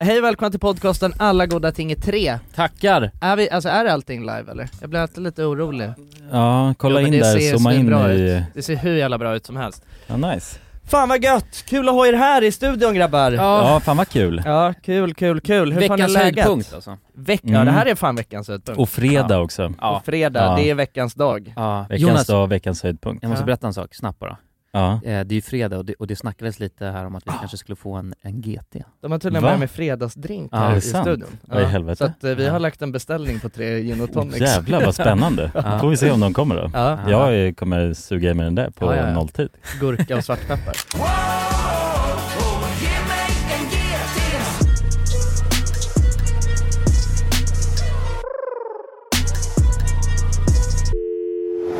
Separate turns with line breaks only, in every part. Hej välkomna till podcasten Alla goda ting är tre.
Tackar!
Är, vi, alltså, är allting live eller? Jag blir alltid lite orolig.
Ja, kolla
Jo, men
in
det
där,
ser
zooma in
svinbra
i...
Det ser hur jävla bra ut som helst.
Ja, nice.
Fan vad gött! Kul att ha er här i studion grabbar!
Ja, fan vad kul.
Ja, kul, kul, kul. Hur fan är
Veckans
läget?
höjdpunkt alltså.
Veck- Ja
Mm.
det här är fan veckans höjdpunkt.
Och fredag också.
Ja.
Och fredag,
Ja.
det är veckans dag.
Ja.
Veckans
Jonas,
dag, veckans höjdpunkt.
jag måste
Ja.
berätta en sak snabbt bara.
Ja. Ah.
Eh, det är ju fredag och det, och det snackades lite här om att vi kanske skulle få en, en GT.
De har tydligen
Va?
börjat med fredagsdrink
Ja,
här
är
det
i
sant?
studion.
Vad i helvete?
Så att eh, vi har lagt en beställning på tre gin och tonics.
Jävlar vad spännande.
Ja.
Får vi se om de kommer då.
Ja,
Jag eh, kommer suga i mig den där på
Ja, ja, ja.
nolltid.
gurka och svartpeppar.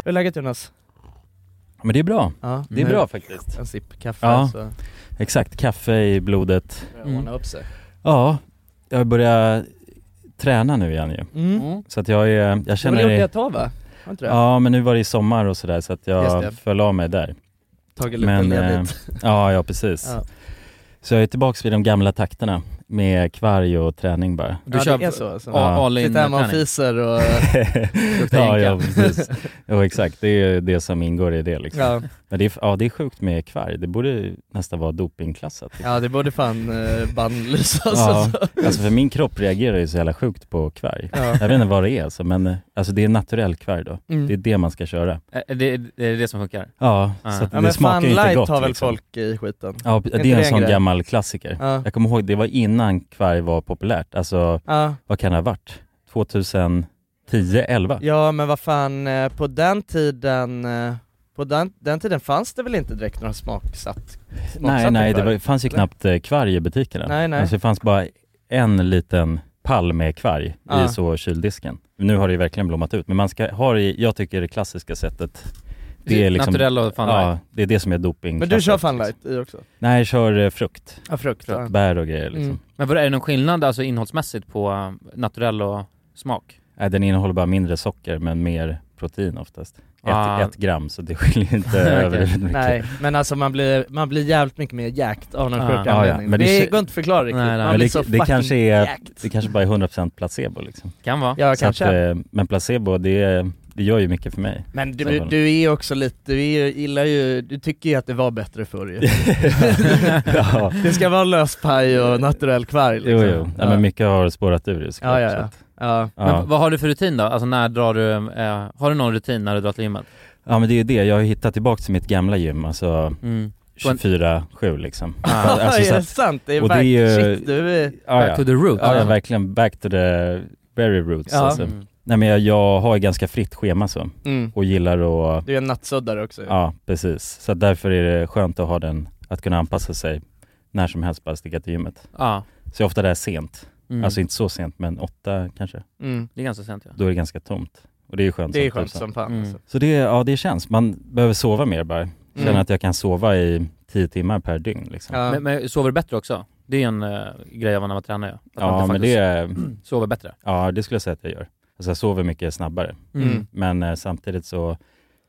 Hur är läget Jonas?
Men det är bra.
Ja,
Det är
nu
bra faktiskt.
En sipp kaffe
Ja.
så
Exakt, kaffe i blodet.
börjar
Mm.
ordna upp sig.
Ja, jag börjar träna nu igen ju.
Mm.
Mm.
Så att jag är, jag
Du har
känner...
gjort det ett tag va? Har inte det?
Ja, men nu var det i sommar och sådär så att
Just det.
jag föll av mig där.
Tagit lite
Men, eh,
ledigt.
ja, ja precis.
Ja.
Så jag är tillbaks vid de gamla takterna med kvarg och träning bara.
Du
ja,
kör
det är så alltså.
Ja.
all in
Sitter hemma och
träning.
fiser och...
ja,
tänka.
ja, precis. Jo, exakt. Det är ju det som ingår i det liksom.
ja.
Men det är, ja, det är sjukt med kvarg. Det borde ju nästan vara dopingklassat.
ja, det borde fan eh, bannlysas
Ja,
alltså.
alltså för min kropp reagerar ju så jävla sjukt på kvarg.
Ja.
Jag vet inte vad det är alltså, men eh, alltså det är naturell kvarg då.
Mm.
Det är det man ska köra.
Eh, Det, det är det som funkar.
Ja,
Ja.
så att
Ja
det
men
smakar
fan
ju inte
light
gott
har väl
liksom.
folk i skiten?
Ja, det
inte
är en
det en
sån
grej?
gammal klassiker.
Ja.
Jag kommer ihåg, det var innan kvarg var populärt. Alltså,
Ja.
vad kan det ha varit? 2010, 11?
ja men vad fan, eh, på den tiden, eh, på den, den tiden fanns det väl inte direkt några smaksatt?
Nej,
smaksatta
nej, det
kvarg?
var, fanns ju
Eller?
knappt eh, kvarg i butikerna.
Nej, nej.
Alltså, det fanns bara en liten pall med kvarg
Ja.
i så kyldisken. Nu har det ju verkligen blommat ut, men man ska ha det, i- jag tycker det klassiska sättet. Det är liksom,
Naturell och fan
ja,
light.
det är det som är doping.
Men du kör fan light i också?
Nej, jag kör eh, frukt,
Ja frukt, ja.
bär och grejer liksom.
Mm.
Men vad är det någon skillnad alltså innehållsmässigt på eh, naturell och smak?
Nej, den innehåller bara mindre socker, men mer protein oftast. Ett,
Ah.
ett gram, så det skiljer inte
Okej.
överdrivet mycket. Ah,
Nej, men alltså man blir, man blir jävligt mycket mer jäkt av någon
Ja.
sjuk
Ja,
ja.
anledning.
Men
det
det
det
kä-
går inte att förklara riktigt,
Nej, nej.
man
Men
blir
det-
så
det
fucking
kanske är-
jäkt.
Det kanske bara är 100% placebo liksom.
Kan vara.
Ja
Så att,
kanske.
eh, men placebo, det, det gör ju mycket för mig.
men du, du är ju också lite, du är ju, gillar ju, du tycker ju att det var bättre förr ju.
ja. Eh,
Det ska vara löspaj och naturell kvarg
Jo,
liksom.
jo. Ja. men mycket har spårat ur ju
Ja,
såklart.
ja,
så
ja.
att-
ja.
ja.
Men vad har du för rutin då? Alltså när drar du, eh, har du någon rutin när du drar till gymmet?
ja, men det är ju det. Jag har ju hittat tillbaka till mitt gamla gym, alltså
Mm. På en-
24-7 liksom.
Ah.
Alltså,
är
så
det
att,
sant? Det är
och det är ju-
verkligen, shit du är...
ja,
Back to
ja.
the alltså. root?
ja, ja, verkligen back to the very roots
Ja.
alltså.
Mm.
Nej men jag, jag har ju ganska fritt schema så,
Mm.
och gillar att,
Du är en nattsuddare också ja.
ja precis. Så att därför är det skönt att ha den, att kunna anpassa sig när som helst, bara sticka till gymmet.
Ja.
Så jag är ofta där sent,
Mm.
alltså inte så sent men åtta kanske.
mm.
det är ganska sent ja.
Då är det ganska tomt. Och det är ju skönt
Det är
som
skönt
tusan.
som fan
Mm.
alltså.
Så det, ja det känns, man behöver sova mer bara. Känna
Mm.
att jag kan sova i 10 timmar per dygn liksom.
ja.
Men, men sover du bättre också? Det är ju en eh, grej av när man tränar ju. Att man
Ja men
faktiskt
det,
Mm.
sover bättre.
ja det skulle jag säga att jag gör. Alltså jag sover mycket snabbare.
Mm.
Men eh, samtidigt så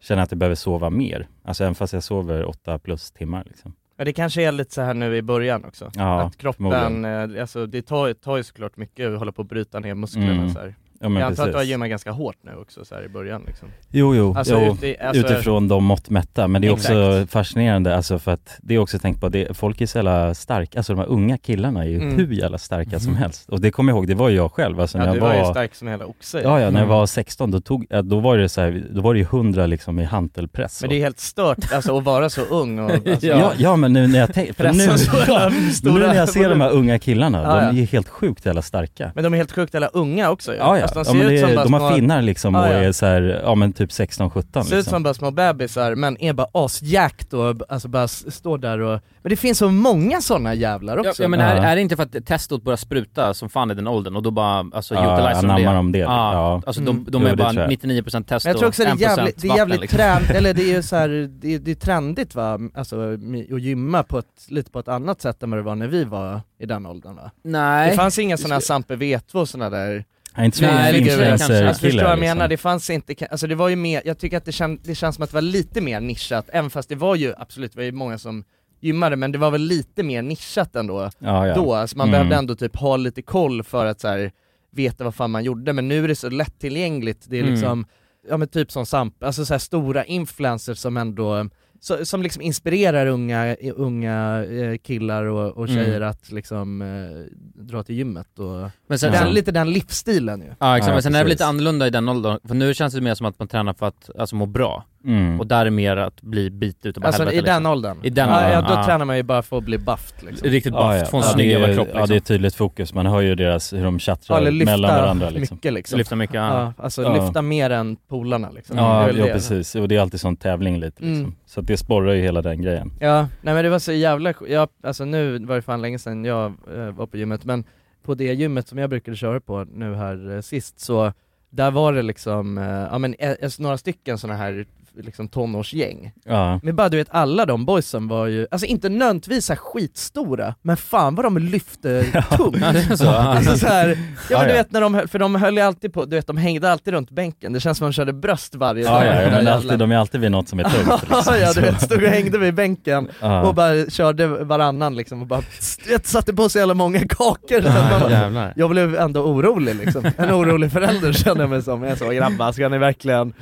känner jag att jag behöver sova mer. Alltså även fast jag sover 8 plus timmar liksom.
Men det kanske är lite så här nu i början också
Ja,
Att kroppen, eh, alltså det tar, ju- tar ju såklart mycket att hålla på att bryta ner musklerna
Mm.
så här.
ja men
Jag antar att du har
precis.
gymmat ganska hårt nu också så här i början liksom
Jo, jo,
Alltså,
jo.
uti- alltså
utifrån de mått mätta. Men det är också
Exakt.
fascinerande, alltså för att det är också tänkt på, det, folk är så jävla starka, alltså de här unga killarna är ju
Mm.
hur jävla starka som
Mhm.
helst. Och det kommer jag ihåg, det var ju jag själv alltså, när
ja,
jag
du var ju stark som hela oxe
Ja, ja, när jag
Mm.
var 16 då, tog, ja, då var det så här, då var det ju 100 liksom i hantelpress.
Men
och-
det är helt stört alltså att vara så ung och alltså,
ja. Ja, men nu när jag tänker, för nu,
pressa så jävla
nu
stora
när jag ser de här unga killarna,
Ja,
de
ja.
är ju helt sjukt jävla starka.
Men de är helt sjukt alla unga också ju.
Ja, ja,
Alltså, de ser
ja men
ut
det,
som
är-
bara
de
små-
har finnar liksom
Ja,
och
ja.
är så här, ja men typ 16-17
Ser ut
liksom.
som bara små bebisar men är bara asjäkt och b- alltså bara s- står där och... Men det finns så många sådana jävlar
Ja,
också.
ja, men
Ja.
är, är det inte för att testot börjar spruta som fan i den åldern och då bara alltså,
Ja,
utiliserar de det?
anammar de det.
Ja.
Ja.
Alltså
Mm.
de, de
Jo,
är
det tror
bara
jag.
99% test
men jag tror också det är
och 1%
jävligt, det är jävligt
vatten, liksom.
trend, eller det är ju så här, det, är- det är trendigt va, alltså mi- att gymma på ett, lite på ett annat sätt än vad det var när vi var i den åldern va? Det
Nej.
fanns inga sådana här Sampe Vetvo och sådana där
Nej, inte så
Nej,
mycket
det är väl kanske-
influencer-killar
Alltså förstår vad jag menar?
liksom.
Det fanns inte, ka- alltså det var ju mer, jag tycker att det, kän, det känns som att det var lite mer nischat, även fast det var ju absolut, det var ju många som gymmade, men det var väl lite mer nischat ändå
Ja, ja.
då, alltså man
Mm.
behövde ändå typ ha lite koll för att så här, veta vad fan man gjorde, men nu är det så lättillgängligt, det är
Mm.
liksom, ja men typ som Samp, alltså så här stora influencers som ändå, så, som liksom inspirerar unga, unga eh, killar och, och tjejer
Mm.
att liksom eh, dra till gymmet och,
Men sen,
den,
Ja.
lite den livsstilen ju.
ja, exakt,
Ja,
men sen är det
precis.
lite annorlunda i den åldern, för nu känns det mer som att man tränar för att alltså, må bra,
Mm.
och där är mer att bli bit utav
Alltså
helvete
i den
liksom.
åldern.
I den
ja,
åldern,
ja, då
ja.
tränar man ju bara för att bli buffed liksom.
Riktigt bafft, få en snygg
det är-
jävla kropp liksom.
Ja, det är tydligt fokus. Man hör ju deras, hur de
Ja,
tjattrar
eller Alltså, lyfta
mellan varandra liksom.
mycket liksom.
Lyfta mycket, ja.
ja, alltså
Ja.
lyfta mer än polarna liksom. Det är
Ja,
väl
ja
det.
precis. Och det är alltid sån tävling lite liksom.
Mm.
Så att det sporrar ju hela den grejen.
Ja, nej men det var så jävla sk- jag, alltså nu var det fan länge sedan jag eh, var på gymmet, men på det gymmet som jag brukade köra på nu här eh, sist, så där var det liksom, eh, ja men eh, alltså några stycken sådana här liksom tonårsgäng.
Ja.
Men bara du vet, alla de boysen var ju, alltså inte nödvändigtvis så här skitstora, men fan vad de lyfte tungt.
Ja, det är så.
Alltså så här, ja men
Ja,
du
ja.
vet när de, höll- för de höll ju alltid på, du vet de hängde alltid runt bänken, det känns som de körde bröst varje
Ja, ja,
den
ja,
där
men
jävla-
alltid, de är alltid vid något som är tungt. liksom.
ja du vet,
Så-
stod och hängde vid bänken
ja.
och bara körde varannan liksom och bara du vet, satte på sig jävla många kakor. Så att man
Ja,
bara,
jävlar.
jag blev ändå orolig liksom, en orolig förälder kände jag mig som. Jag sa grabbar, ska ni verkligen,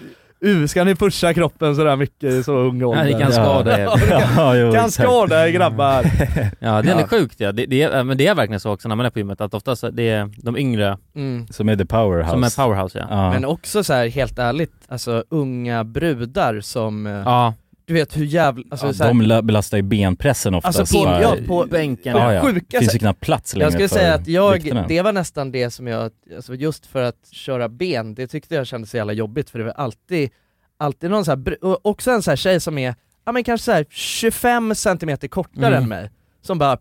uh, ska ni pusha kroppen sådär mycket i så ung ålder?
Ja, ni kan
Ja.
skada er.
Ja, jo,
Kan
exakt.
skada er grabbar!
Ja det är ändå
Ja.
sjukt ja. det, det är, men det är verkligen så också när man är på gymmet att oftast det är de yngre
Mm.
Som är the powerhouse.
som är powerhouse ja.
Ja.
Men också så här helt ärligt, alltså unga brudar som, eh,
Ja,
du vet hur jävla, alltså,
ja,
så här,
de la- belastar ju benpressen oftast.
Alltså, på-
bara-
ja, på-
bänken.
Ja, ja.
sjuka
finns ju knappt plats längre
Jag skulle
för
säga att jag,
vikterna.
det var nästan det som jag, alltså just för att köra ben, det tyckte jag kändes så jävla jobbigt för det var alltid, alltid någon så här, br- och också en så här tjej som är, ja men kanske så här 25 centimeter kortare
Mm.
än mig, som bara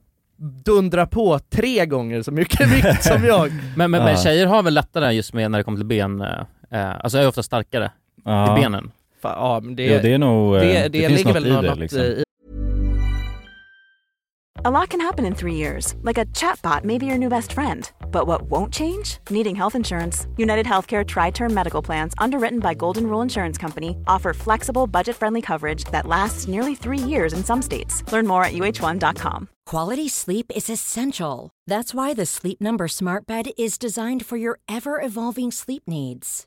dundrar på tre gånger så mycket vikt som jag.
Men, men, men
Ja.
tjejer har väl lättare just med när det kommer till ben, eh, eh, alltså är ofta starkare
ja.
i benen.
Fan, ja, men det,
ja, det är nog, eh,
det, det,
det, finns
ligger
något
väl
i
något, eh,
det liksom.
i
A lot can happen in three years, like a chatbot may be your new best friend. But what won't change? Needing health insurance. United Healthcare Tri Term Medical Plans, underwritten by Golden Rule Insurance Company, offer flexible, budget friendly coverage that lasts nearly three years in some states. Learn more at uh1.com.
Quality sleep is essential. That's why the Sleep Number Smart Bed is designed for your ever evolving sleep needs.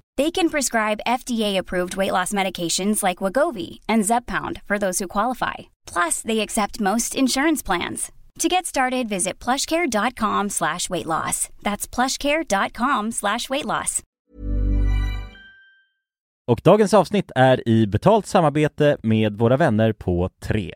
They can prescribe FDA-approved weight loss medications like Wagovi and Zepbound for those who qualify. Plus, they accept most insurance plans. To get started, visit plushcare.com slash weight loss. That's plushcare.com slash weight loss.
Och dagens avsnitt är i betalt samarbete med våra vänner på 3.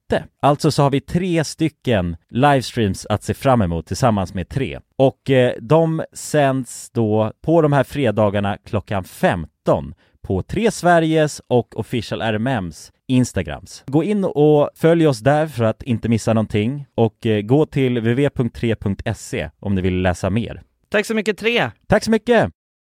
Alltså så har vi tre stycken livestreams att se fram emot tillsammans med tre. Och eh, de sänds då på de här fredagarna klockan 15 på Tre Sveriges och Official RMMs Instagrams. Gå in och följ oss där för att inte missa någonting och eh, gå till www.3.se om ni vill läsa mer.
Tack så mycket, tre!
Tack så mycket!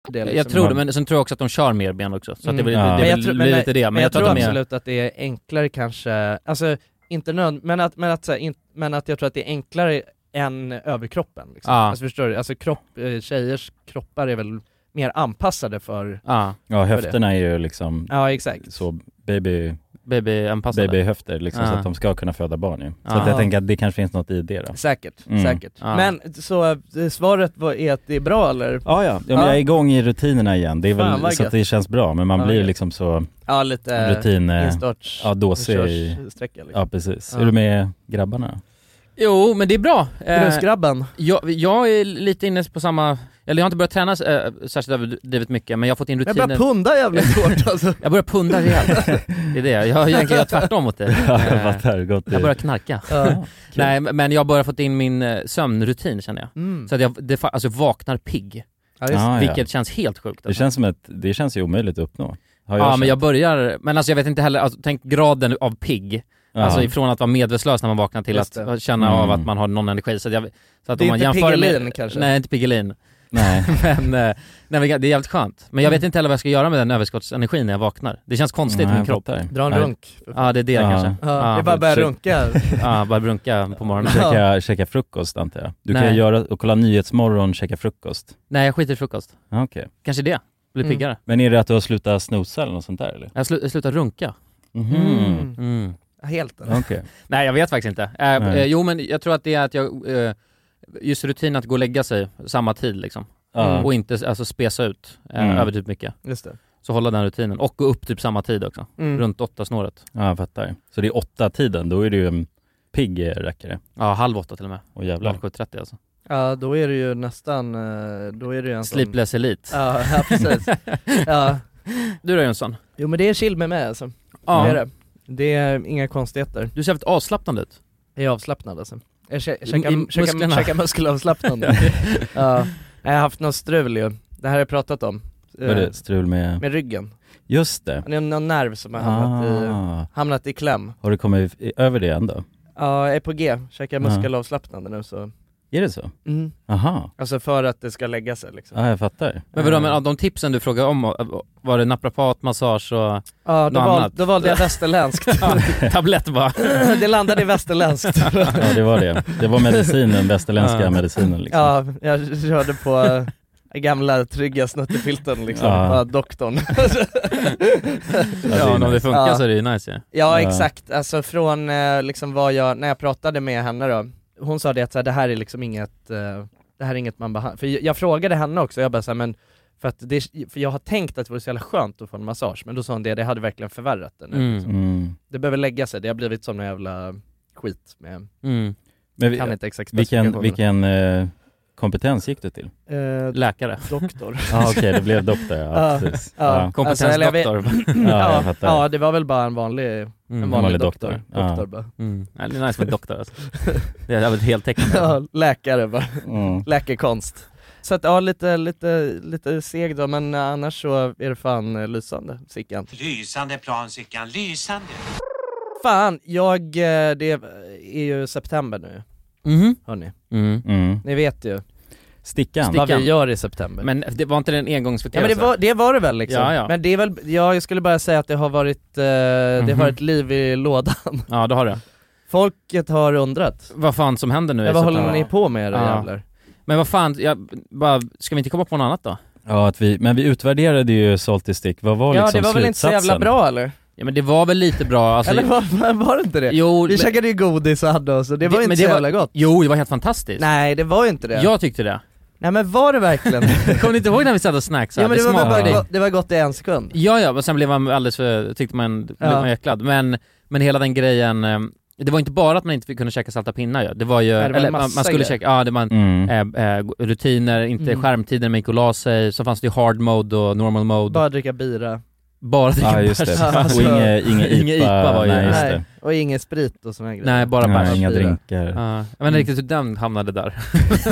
Det är
Jag,
liksom-
jag tror det,
Man-
men sen tror jag också att de kör mer ben också. Så att det
Mm.
blir,
Ja.
det,
Men
det
jag
blir
tror- men-
lite det. Men,
Men jag,
jag,
tror
att de är...
absolut att det är enklare kanske, alltså inte nöd, men att, men att, så här, in, men att jag tror att det är enklare än överkroppen liksom.
Ja.
Alltså förstår du? Alltså kropp, eh, tjejers kroppar är väl mer anpassade för,
Ja,
Ja,
höfterna
är ju liksom
ja exakt.
baby,
babyanpassade.
höfter liksom
så att de
ska kunna föda barn ju.
Så att
jag tänker
att det kanske finns något i det då.
Säkert,
Mm.
säkert.
Ja.
Men så eh, svaret var, är att det är bra eller?
Ja, ja. ja men
Ja.
jag är igång i rutinerna igen. Det är
Fan,
väl
vad
så
gött.
att det känns bra, men man
Ja,
blir
gött.
liksom så
Ja lite eh,
rutin... eh,
instarts,
ja, dåsig i...
körssträcka liksom.
Ja, precis.
Ja.
Är du med grabbarna?
Jo, men det är bra. Eh,
Grusgrabben,
jag, jag är lite inne på samma, eller jag har inte börjat träna eh, särskilt överdrivet mycket, men jag har fått in
jag
rutinen.
börjar punda jävligt hårt alltså.
jag börjar punda rejält. det är det, jag har egentligen gjort tvärtom mot det.
Ja, jag
Eh,
fattar. Gott
jag börjar knarka.
Ja.
Nej, men jag har bara fått in min eh, sömnrutin känner jag.
Mm.
Så att jag det, fa- alltså, vaknar pigg,
Ja, just,
vilket känns helt sjukt.
Ah, Det
Alltså.
känns som ett... Det känns ju omöjligt att uppnå. Har
ja, men
känt.
jag börjar, men alltså jag vet inte heller, alltså, tänk graden av pigg.
Ja.
Alltså ifrån att vara medvetslös när man vaknar till
Just
att
det.
känna av
Mm.
att man har någon energi. Så, att jag, så att
Det är
om man
inte
jämför
Piggelin,
med,
kanske?
Nej, inte Piggelin.
Nej.
Men, eh, nej, men det är jävligt skönt. Men jag
Mm.
vet inte heller vad jag ska göra med den överskottsenergin när jag vaknar. Det känns konstigt i
Nej,
min
jag
kropp.
fattar.
dra en
Nej.
runk.
Ja det är det
Ja.
kanske.
Ja, det är bara att börja runka.
ja, bara brunka på morgonen.
Käka, käka frukost, antar jag. Du
Nej.
kan göra... Och kolla Nyhetsmorgon, käka frukost.
Nej jag skiter i frukost.
Ja, Okej.
Kanske det. Blir
Mm.
piggare.
Men är det att du har slutat snosa eller något sånt där, eller?
Jag, slu- jag slutar runka.
Mhm.
Mm.
Helt alltså. eller?
Okej.
Nej jag vet faktiskt inte. Eh,
Nej.
eh, jo men jag tror att det är att jag, eh, just rutinen att gå och lägga sig samma tid liksom.
Ja.
Mm.
Och inte alltså spesa ut eh,
Mm.
över typ mycket.
Just det.
Så hålla den rutinen. Och gå upp typ samma tid också.
Mm.
Runt åtta snåret.
Ja, jag fattar. Så det är åtta tiden, då är du ju en pigg eh, rackare.
Ja halv åtta till och med.
Och jävlar.
07.30 alltså.
Ja, då är det ju nästan, eh, då är det
Alltså.
ju en sån-
Sleepless Elite.
Ja, ja precis. ja.
Du då Jönsson?
Jo men det är chill med mig alltså. Det, är
Mm.
det. det är inga konstigheter.
Du ser jävligt avslappnad ut.
Jag är avslappnad alltså. Jag kä-
i
käkar käka,
musklerna.
käka muskelavslappnande. ja. Jag har haft något strul ju. Det här har jag pratat om. Eh,
Var det strul med...
Med ryggen.
Just det.
Det är någon nerv som har hamnat, i,
Ah.
hamnat i kläm.
Har du kommit i- över det ändå?
Ja, jag är på G. Käkar
Ja.
muskelavslappnande nu så.
Är det så?
Mm.
Aha,
Alltså för att det ska lägga sig liksom.
ja jag fattar.
Men vadå,
Eh.
men av de tipsen du frågade om, eh, var det naprapat, massage och
Ja, då,
Något
val,
annat.
då valde jag västerländskt.
tablett bara?
det landade i västerländskt.
Ja det var det. Det var medicinen, västerländska
Ja.
medicinen liksom.
Ja, jag körde på eh, gamla trygga snuttefilten liksom,
Ja.
ja. doktorn.
det är
Ja, men om det
nice.
funkar
Ja.
så är det ju nice ju.
ja
Ja.
exakt, alltså från eh, liksom vad jag, när jag pratade med henne då, hon sa det att så här, det här är liksom inget, eh, det här är inget man behandlar, för jag, jag frågade henne också, jag bara så här, men för att det, är- för jag har tänkt att det vore så jävla skönt att få en massage, men då sa hon det, det hade verkligen förvärrat det nu.
Mm.
Mm.
Det behöver lägga sig, det har blivit som en jävla skit med,
Mm.
Men
kan
vi,
inte exakt
vilken,
specifikationerna.
vilken eh, kompetens gick du till?
Eh,
Läkare.
doktor.
Ja ah, okej, det blev doktor, ja
Ja.
precis.
Ja.
Ja,
Alltså, eller jag vet-
Kompetensdoktor.
ja jag fattar.
ja, det var väl bara en vanlig En vanlig,
vanlig
doktor.
doktor.
doktor.
Ja.
bara.
Mm. Ja, det är nice med doktor alltså. Det är jävligt heltäckande.
Ja, läkare bara.
Mm.
Läkekonst. Så att ja, lite, lite, lite seg då, men eh, annars så är det fan eh, lysande, Sickan.
Lysande plan Sickan, lysande!
Fan, jag, eh, det är ju september nu
Mhm.
hörni.
Mm.
Mm.
Ni vet ju
Stickan.
Stick-
vad vi
Stickan.
gör i september.
Men det var inte en
ja
engångsföreteelse?
men det var, det var det väl liksom.
Ja, ja.
Men det är väl, ja, jag skulle bara säga att det har varit, eh, det har
Mhm.
varit liv i lådan.
Ja, det har det.
Folket har undrat.
Vad fan som händer nu i
Ja, vad håller
september?
ni på med era
Ja.
jävlar?
Men vad fan, jag, bara, ska vi inte komma på något annat då?
Ja, att vi, men vi utvärderade ju Salty Stick, vad var
Ja
liksom
det var väl inte så jävla
slutsatsen?
bra eller?
Ja men det var väl lite bra, alltså,
eller var, var- var det inte det?
Jo,
Vi
men-
käkade ju godis och hade oss och det var
Det-
ju inte
men
så
det var-
jävla gott.
jo det var helt fantastiskt.
Nej det var ju inte det.
Jag tyckte det.
Nej men var det verkligen
Kommer ni inte ihåg när vi satt och snacksade?
Ja men det var väl
smakade
bara
smakar.
dig.
gott, det var gott i en sekund.
Ja ja, men sen blev man alldeles för, tyckte man, blev
Ja.
man äcklad. Men, men hela den grejen, eh, det var inte bara att man inte fick- kunde käka salta pinnar ju, det var ju,
Nej, det var en
eller man,
massa
man skulle
grejer.
käka, ja det var en,
Mm.
eh, eh, rutiner, inte
Mm.
skärmtiden man gick och la sig, eh, så fanns det ju hard mode och normal mode.
Bara dricka bira.
bara dricka
Ja just det,
Alltså-
och inge, inge IPA,
Inge IPA var ju-
nej just
Nej.
det.
Och ingen sprit och såna här grejer.
Nej, bara
Nej,
bärs.
inga
Bira.
drinkar.
Ja, jag vet inte riktigt hur den hamnade där.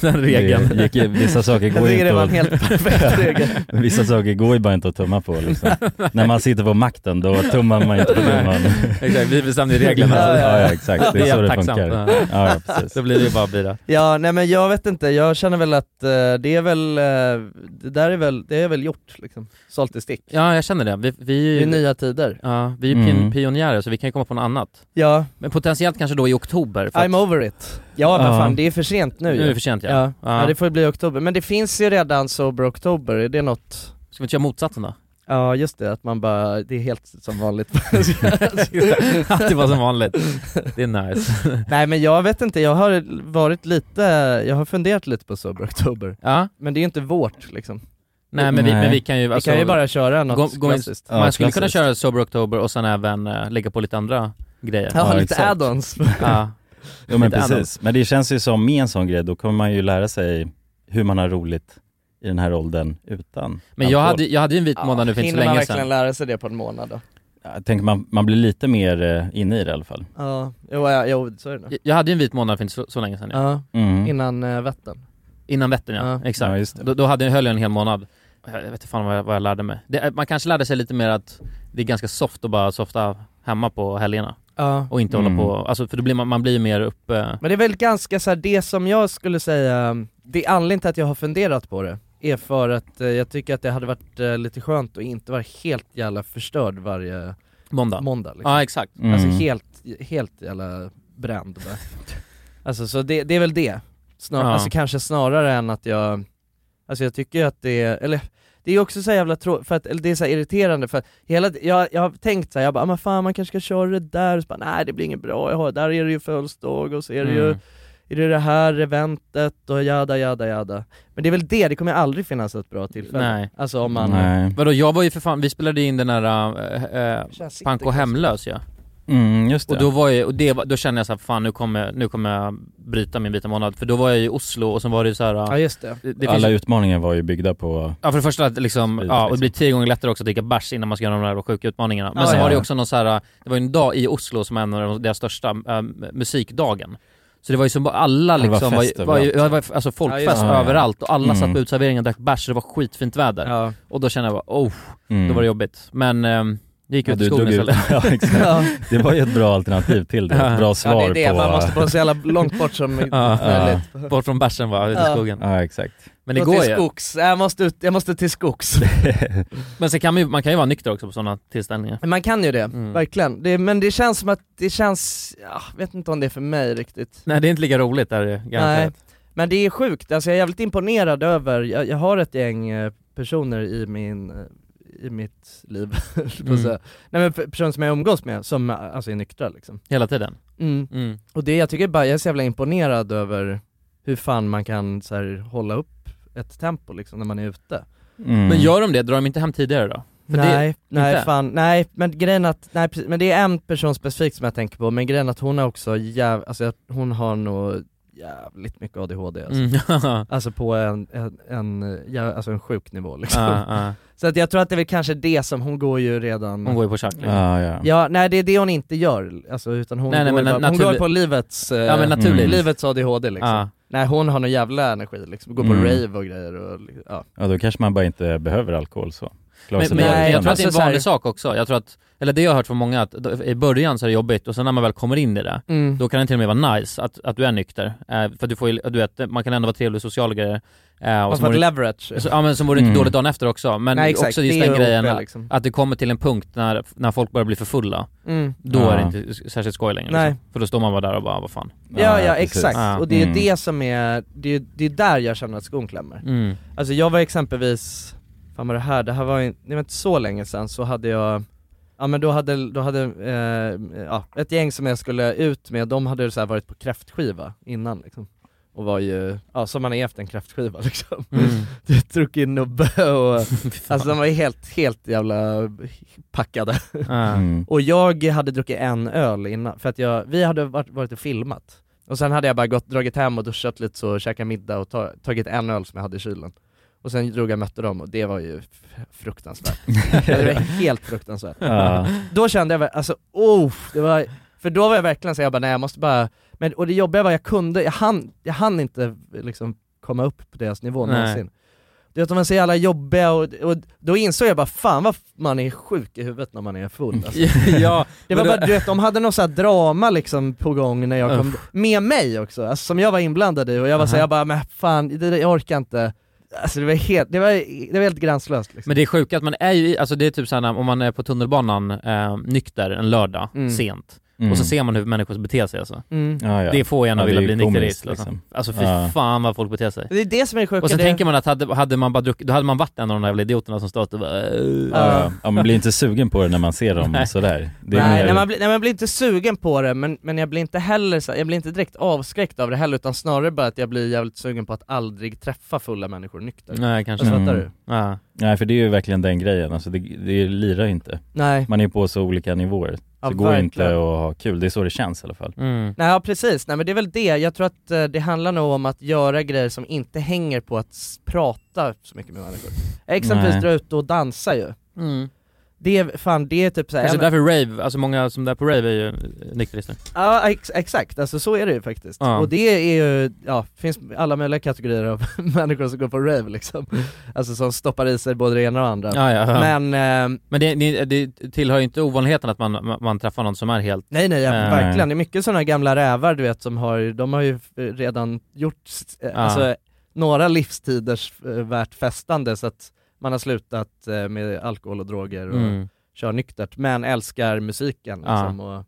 den regeln.
Det gick, vissa saker
Jag
går ju
tycker det var
inte
en
att,
helt perfekt regel.
vissa saker går ju bara inte att tumma på liksom. När man sitter på makten då tummar man inte på
Nej.
tumman.
Exakt, vi bestämde ju reglerna.
Ja,
ja,
ja.
ja exakt, det är så det funkar. Ja,
Ja.
ja precis.
Så blir det ju bara bira.
Ja, nej men jag vet inte, jag känner väl att eh, det är väl, eh, det där är väl, det är väl gjort liksom. Sålt i stick.
Ja, jag känner det. Vi, vi
Det
är
är
ju
nya tider.
ja, vi är ju pin-
Mm.
pionjärer så vi kan ju komma på något annat.
Ja,
Men potentiellt kanske då i oktober. För att,
I'm over it. Ja men
Ja.
fan, det är för sent nu
nu är
ju.
det för sent ja.
Ja.
Ja.
ja, det får bli i oktober. Men det finns ju redan Sober Oktober, är det något?
Ska vi inte göra motsatsen då?
Ja just det, att man bara, det är helt som vanligt.
Att det var som vanligt. Det är nice.
Nej men jag vet inte, jag har varit lite, jag har funderat lite på Sober Oktober.
Ja,
Men det är ju inte vårt liksom.
nej men vi,
Nej.
men vi kan ju...
Vi
alltså-
kan ju bara köra
gå-
något
gå in-
klassiskt.
Ja,
man skulle kunna
klassiskt.
köra Sober Oktober och sen även eh, lägga på lite andra grejer.
Ja,
Ja,
lite
exakt.
add-ons.
Ja.
Jo men
Lite annat.
precis, men det känns ju som med en sån grej, då kommer man ju lära sig hur man har roligt i den här åldern utan
Men jag
alkohol.
hade, jag hade ju en vit månad nu för inte så
Hinner man
länge
verkligen
sedan.
lära sig det på en månad då?
Jag tänker man, man blir lite mer eh, inne i det i alla fall.
Ja, jo, ja, jo så är det nog.
Jag- Jag hade ju en vit månad för inte så, så länge sedan. Ja.
Ja,
Mm.
innan eh, Vättern. Innan
Innan Vättern ja,
Ja.
exakt.
Ja, just det.
Då, då hade, höll jag en hel månad. Jag vet inte fan vad jag, vad jag lärde mig. Det, är- man kanske lärde sig lite mer att det är ganska soft att bara softa hemma på helgerna
Ja.
och inte
Mm.
hålla på, alltså för då blir man, man blir mer uppe. eh,
Men det är väl ganska så här, det som jag skulle säga, det är anledningen till att jag har funderat på det, är för att eh, jag tycker att det hade varit eh, lite skönt att inte vara helt jävla förstörd varje
måndag.
måndag liksom.
Ja exakt.
Mm.
Alltså helt, helt jävla bränd bara. Alltså så det, det är väl det. Snar,
Ja.
Alltså kanske snarare än att jag, alltså jag tycker ju att det är, eller det är ju också så jävla trå- för att, eller det är så här irriterande för att hela, jag, jag har tänkt så här, jag bara, "Ah, men fan man kanske ska köra det där, och så bara, nej det blir inget bra, jag har, där är det ju födelsedag och så är det ju,
Mm.
är det det här eventet och jada jada jada. Men det är väl det, det kommer aldrig finnas ett bra tillfälle.
Nej.
Alltså om man...
Nej.
Vadå jag var ju för fan, vi spelade in den där äh, äh,
Känns inte
Panko
konstigt.
hemlös ja.
Mm, just det.
Och då var jag, och det, var- då kände jag såhär fan nu kommer, nu kommer jag bryta min vita månad. För då var jag i Oslo och sen var det ju såhär,
Ja just det.
det, det finns
Alla
ju-
utmaningar var ju byggda på,
Ja för det första att liksom,
Sprit,
ja, och det
liksom.
blir tio gånger lättare också att dricka bärs innan man ska göra de där sjuka utmaningarna. Men
Ja,
sen
ja.
var det ju också någon så här, äh, det var ju en dag i Oslo som var en av de- deras största, eh, musikdagen. Så det var ju som bara alla
Ja, det var
liksom, var,
fest
ju- var, ju- ja, det var alltså
Ja,
folkfest
just
det.
överallt och alla
Mm.
satt på uteserveringar och drack bärs och det var skitfint väder.
Ja.
Och då kände jag bara, oh,
mm.
då var det jobbigt. Men ehm, jag gick ut i skogen
drog ut-
istället.
ja, exakt.
ja.
Det var ju ett bra alternativ till det, ett bra svar
Ja det är det,
på...
man måste vara så jävla långt bort som
Ja.
möjligt.
Bort från bärsen bara, ut i
Ja.
skogen.
Ja exakt.
Men det
Gå
går
till
ju.
skogs, jag måste, ut, jag måste till skogs.
Men sen kan man ju, man kan ju vara nykter också på sådana tillställningar.
Man kan ju det,
Mm.
verkligen. Det, men det känns som att, det känns, jag vet inte om det är för mig riktigt.
Nej det är inte lika roligt där garanterat.
Men det är sjukt, alltså jag är jävligt imponerad över, jag, jag har ett gäng eh, personer i min, eh, i mitt liv,
Mm.
mm. säga. Nej men pe- personer som jag umgås med, som eh, alltså är nyktra liksom.
Hela tiden.
Mm.
Mm.
Och det, jag tycker bara, jag är så jävla imponerad över hur fan man kan så här, hålla upp ett tempo liksom när man är ute.
Mm.
Men gör de det, drar de inte hem tidigare då? För det-
nej, nej
inte?
fan, nej men grejen att, nej precis, men det är en person specifikt som jag tänker på, men grejen att hon har också jäv, alltså jag- hon har nog jävligt mycket ADHD alltså.
Mm.
Alltså på en, en, en, ja, alltså en sjuk nivå liksom.
Ja, ja.
Så att jag tror att det är väl kanske det som, hon går ju redan
Hon går ju på tjack liksom.
Ja, ja.
Ja, nej det är det hon inte gör, alltså utan hon,
Nej, nej,
går,
men
bara, hon
naturlig-
går på livets, eh,
Ja men naturligt.
Mm.
livets ADHD liksom.
Ja.
Nej hon har någon jävla energi liksom, går på
Mm.
rave och grejer och ja.
Ja då kanske man bara inte behöver alkohol så. Klarar
Men,
sig
men
bra
jag,
Nej,
jag
utan
men
tror att det är en
alltså så här-
vanlig sak också. Jag tror att, eller det jag har hört från många, att då- i början så är det jobbigt och sen när man väl kommer in i det,
Mm.
då kan det till och med vara nice att, att du är nykter. Eh, för att du får ju- du vet, man kan ändå vara trevlig och social och grejer. Eh,
Fast
och så
för
mår
att
du-
leverage.
så, ja men så mår du
Mm.
inte dåligt dagen efter också. Men
Nej exakt,
också just
det är
den grejen
uppe,
att-
liksom.
att det kommer till en punkt när, när folk börjar bli för fulla.
mm.
Då
Ja.
är det inte s- särskilt skoj längre.
Nej.
Liksom. För då står man bara där och bara, vad fan.
Ja, ja
precis.
exakt,
Ja.
och det är ju
Mm.
det som är, det är, ju- det är där jag känner att skon klämmer.
Mm.
Alltså jag var exempelvis, fan var det här, det här var, ju- det var inte så länge sedan så hade jag Ja men då hade, då hade eh, ja, ett gäng som jag skulle ut med, de hade så här varit på kräftskiva innan liksom Och var ju, ja som man är efter en kräftskiva liksom
Mm.
Druckit nubbe och, alltså de var ju helt, helt jävla packade
Mm.
Mm.
Och jag hade druckit en öl innan, för att jag, vi hade varit, varit och filmat Och sen hade jag bara gått, dragit hem och duschat lite så, käkat middag och ta, tagit en öl som jag hade i kylen Och sen drog jag och mötte dem och det var ju f- fruktansvärt Det var helt fruktansvärt
Ja.
Då kände jag väl, alltså oh, det var, för då var jag verkligen så jag bara nej jag måste bara, men, och det jobbiga var jag kunde, jag hann, jag hann inte liksom komma upp på deras nivå
Nej.
någonsin du vet, de var så jävla jobbiga och, och då insåg jag bara fan vad f- man är sjuk i huvudet när man är full alltså.
ja,
Det var
Men
bara,
det-
du vet, de hade något så här drama liksom på gång när jag kom,
Uff.
med mig också, alltså, som jag var inblandad i och jag var såhär,
Aha.
jag bara men fan, det, där- jag orkar inte Alltså det var helt, det var, det var helt gränslöst liksom.
men det är sjukt att man är ju, i- alltså det är typ såhär när- om man är på tunnelbanan eh, nykter en lördag,
Mm.
sent.
Mm.
Och så ser man hur människor beter sig alltså.
mm.
ja, ja.
Det får en att
Ja,
vilja
det är
bli
ju
nykterist
komiskt,
liksom.
liksom.
Alltså fy
Ja.
fan vad folk beter sig.
Det är det som är det sjuka,
Och sen
det,
tänker man att hade, hade man bara druckit, då hade man varit en av de där jävla idioterna som stått och bara, eh,
Ja, ja. ja man blir inte sugen på det när man ser dem
Nej.
sådär. Det
nej,
mer-
nej, man blir, nej man blir inte sugen på det men, men jag blir inte heller så, här- jag blir inte direkt avskräckt av det heller utan snarare bara att jag blir jävligt sugen på att aldrig träffa fulla människor nykter.
Nej kanske.
Alltså,
Mm.
fattar du?
Ja.
Nej för det är ju verkligen den grejen, alltså det, det lirar ju inte.
Nej,
Man är på så olika nivåer. Det
ja,
går ju inte
verkligen.
att ha kul, det är så det känns i alla fall.
Mm.
Nej ja, precis, nej men det är väl det, jag tror att eh, det handlar nog om att göra grejer som inte hänger på att s- prata så mycket med människor Exempelvis
Nej.
dra ut och dansa ju,
Mm.
det är fan det är typ såhär,
Kanske
ja, men-
därför rave, alltså många som är på rave är ju eh, nykterister.
ja ex exakt, alltså så är det ju faktiskt
Ja.
Och det är ju, ja, finns alla möjliga kategorier av människor som går på rave liksom Alltså som stoppar i sig både det ena och det andra
Ja, Mm. ja, ja.
Men, eh,
Men det, det, det tillhör ju inte ovanligheten att man, man, man träffar någon som är helt...
nej nej, ja,
Nej.
verkligen, det är mycket sådana gamla rävar du vet som har, de har ju eh, redan gjort, eh, alltså några livstiders eh, värt festande så att man har slutat eh, med alkohol och droger och
Mm.
kör nyktert, men älskar musiken
Ja.
liksom, och,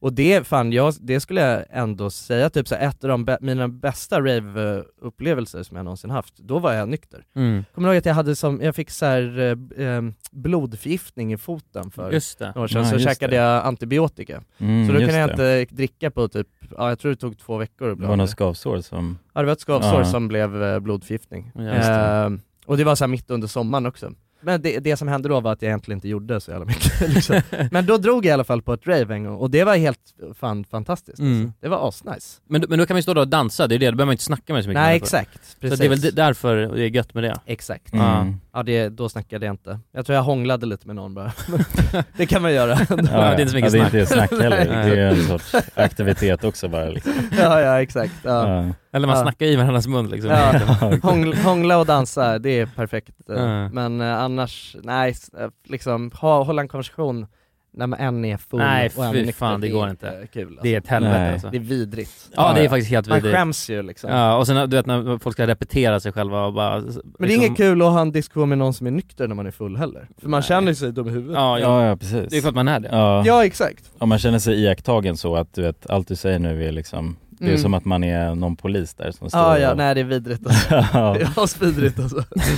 och det fan, jag, det skulle jag ändå säga, typ så här, ett av de bä- mina bästa rave-upplevelser som jag någonsin haft, då var jag nykter.
Mm.
Kommer du ihåg att jag hade som, jag fick så här, eh, eh, blodförgiftning i foten för
Just det.
några år sedan,
Ja,
så
just
käkade
det.
jag antibiotika.
Mm,
så då
just
kunde jag
det.
inte dricka på typ, ja jag tror det tog två veckor att
Det
bli
var
av
något
med.
skavsår som...
Ja det var ett skavsår
Ja.
som blev eh, blodförgiftning.
Ja, just
eh, och det var så här mitt under sommaren också. Men det, det som hände då var att jag egentligen inte gjorde så jävla mycket. Liksom. Men då drog jag i alla fall på ett rave en gång och det var helt fan fantastiskt.
Mm.
Alltså. Det var asnice.
Men, då- men då kan man ju stå där och dansa, det är det, då behöver man inte snacka med så mycket
Nej
människor.
exakt, precis.
Så det är väl det- därför det är gött med det.
Exakt.
Mm.
Ja.
Ja det, då snackade jag inte. Jag tror jag hånglade lite med någon bara. det kan man göra.
Ja, det är inte så mycket
ja, det är inte snack heller.
Nej.
Det är ju en sorts aktivitet också bara liksom.
ja ja exakt. Ja.
Ja.
Eller man
Ja.
snackar i varandras mun liksom.
Ja. Hångla, hångla och dansa, det är perfekt. eh,
Ja.
Men eh, annars, nej, s- eh, liksom ha, hålla en konversation när man en är full
Nej,
och en
fy
nykter,
fan, det
är
går inte.
eh, Kul, alltså.
Det är ett helvete
Nej.
alltså.
det är vidrigt.
Ja det är
Ja.
faktiskt helt
Man
vidrigt.
skäms ju liksom.
Ja, och sen du vet när folk ska repetera sig själva och bara...
Men det är inget kul att ha en diskussion med någon som är nykter när man är full heller. För man
liksom. Nej.
känner sig dum i huvudet.
Ja, ja.
ja, ja precis.
det är för att man är det.
Ja.
Ja, exakt.
Om man känner sig iakttagen så att du vet, allt du säger nu är liksom, det är
Mm.
som att man är någon polis där som står
Ja, ja,
och-
nej det är vidrigt alltså. Det
ja.
är asvidrigt alltså.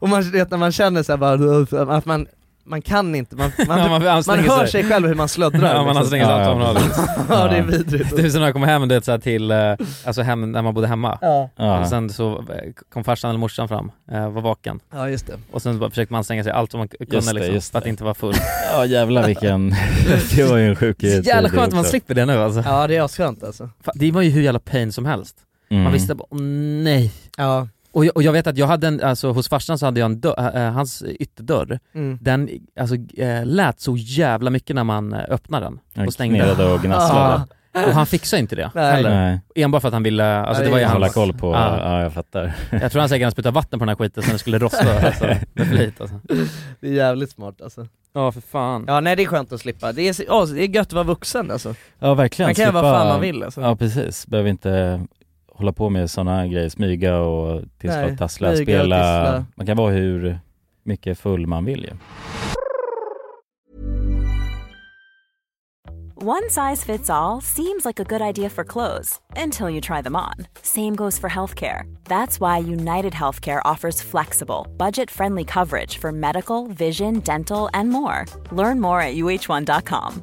Och man vet när man känner sig bara, att man, man kan inte, man, man,
Ja,
man,
anstränger
hör sig själv hur man slöddrar. liksom.
Ja, man anstränger sig
Ja,
allt vad man
ja,
har.
ja, det är vidrigt. alltså.
Det är som när jag kom hem du vet, så här, till, eh, alltså hem när man bodde hemma.
Ja,
Ja.
Och sen så eh, kom farsan eller morsan fram, eh, var vaken.
ja just det.
Och sen så bara försökte man anstränga sig allt som man kunde
Just det,
liksom,
just
för att
det.
inte vara full.
ja jävlar vilken, det var ju en sjuk tid
Jävla skönt att man
också.
slipper det nu alltså.
Ja det är asskönt alltså.
Fan, Det var ju hur jävla pain som helst.
Mm.
Man visste bara, åh nej.
Ja.
Och jag, och jag vet att jag hade en, alltså hos farsan så hade jag en dörr, eh, eh, hans ytterdörr,
Mm.
den alltså, eh, lät så jävla mycket när man eh, öppnade den
Ja,
och stängde den.
Knirrade och gnaslade.
Ah.
Och han fixade inte det
Nej.
heller.
Nej,
Enbart för att han ville, alltså det var ju
Ja,
hålla
hans...
koll på,
Ja.
ja jag fattar.
Jag tror han säkert han sprutade vatten på den här skiten så den skulle rosta alltså, med flit alltså.
Det är jävligt smart alltså.
Ja för fan.
Ja nej det är skönt att slippa, det är, oh, det är gött att vara vuxen alltså.
Ja verkligen.
Man kan göra vad
slippa-
fan man vill alltså.
Ja precis, behöver inte hålla på med sådana grejer, smyga och tissla
Nej,
och tassla,
smyga och
spela.
tissla.
Man kan vara hur mycket full man vill ju.
One size fits all seems like a good idea for clothes until you try them on. Same goes for healthcare. That's why United Healthcare offers flexible, budget friendly coverage for medical, vision, dental, and more. Learn more at uh1.com.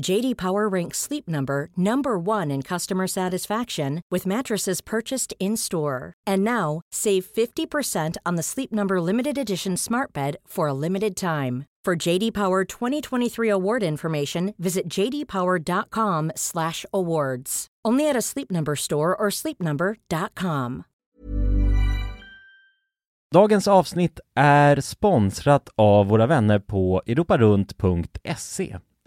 JD Power ranks Sleep Number number 1 in customer satisfaction with mattresses purchased in-store. And now, save 50% on the Sleep Number limited edition Smart Bed for a limited time. For JD Power 2023 award information, visit jdpower.com/awards. Only at a Sleep Number store or sleepnumber.com.
Dagens avsnitt är sponsrat av våra vänner på europarunt.se.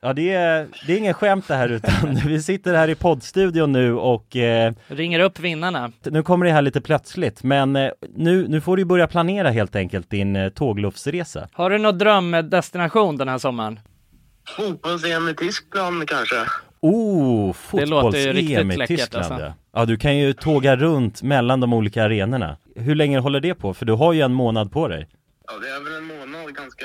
ja det, är, det är ingen skämt det här utan vi sitter här i poddstudion nu och eh,
Ringer upp vinnarna.
nu kommer det här lite plötsligt men eh, nu, nu får du börja planera helt enkelt din eh, tågluffsresa.
Har du någon drömdestination den här sommaren?
Fotbolls-EM i Tyskland kanske?
Oh,
Det låter ju
fotbolls-EM
riktigt
i
läckert,
Tyskland
alltså.
ja. ja, du kan ju tåga runt mellan de olika arenorna. Hur länge håller det på? För du har ju en månad på dig.
Ja, det är väl en månad ganska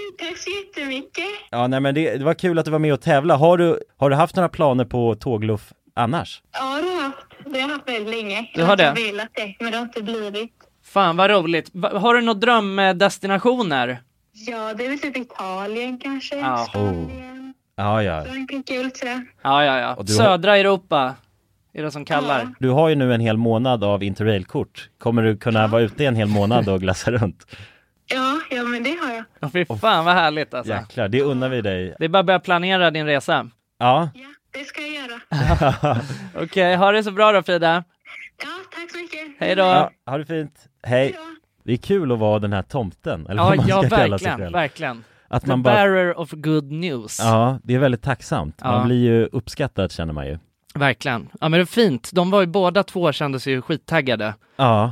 så jättemycket.
Ja, nej men det, det var kul att du var med och tävla. Har du, har du haft några planer på tågluff annars?
Ja, det har jag haft. Det har jag haft väldigt länge.
Du har
jag
det?
har velat det, men det har inte blivit.
Fan vad roligt. Va- Har du några drömdestinationer?
Ja, det är väl typ Italien kanske.
Ja.
Spanien.
Ja, ja.
Frankrike är väl sådär.
Ja, ja, ja.
Och du har-
Södra Europa är det som kallar.
Ja.
Du har ju nu en hel månad av interrailkort. Kommer du kunna vara ute en hel månad och glassa runt?
Ja, ja, men det har jag.
Ja, Fy fan vad härligt alltså.
Jäklar, det unnar vi dig.
Det är bara att börja planera din resa.
Ja,
Ja, det ska jag göra.
Okej, ha det så bra då Frida.
Ja, tack så mycket.
Hej då.
ja ha det fint. Hej!
Hejdå.
Det är kul att vara den här tomten, eller vad
Ja,
man
ja
ska kalla sig
verkligen,
själv.
verkligen.
Att
The
man bara,
bearer of good news.
ja, det är väldigt tacksamt.
Ja.
Man blir ju uppskattad känner man ju.
Verkligen. Ja men det är fint. De var ju båda två kände sig ju skittaggade
Ja,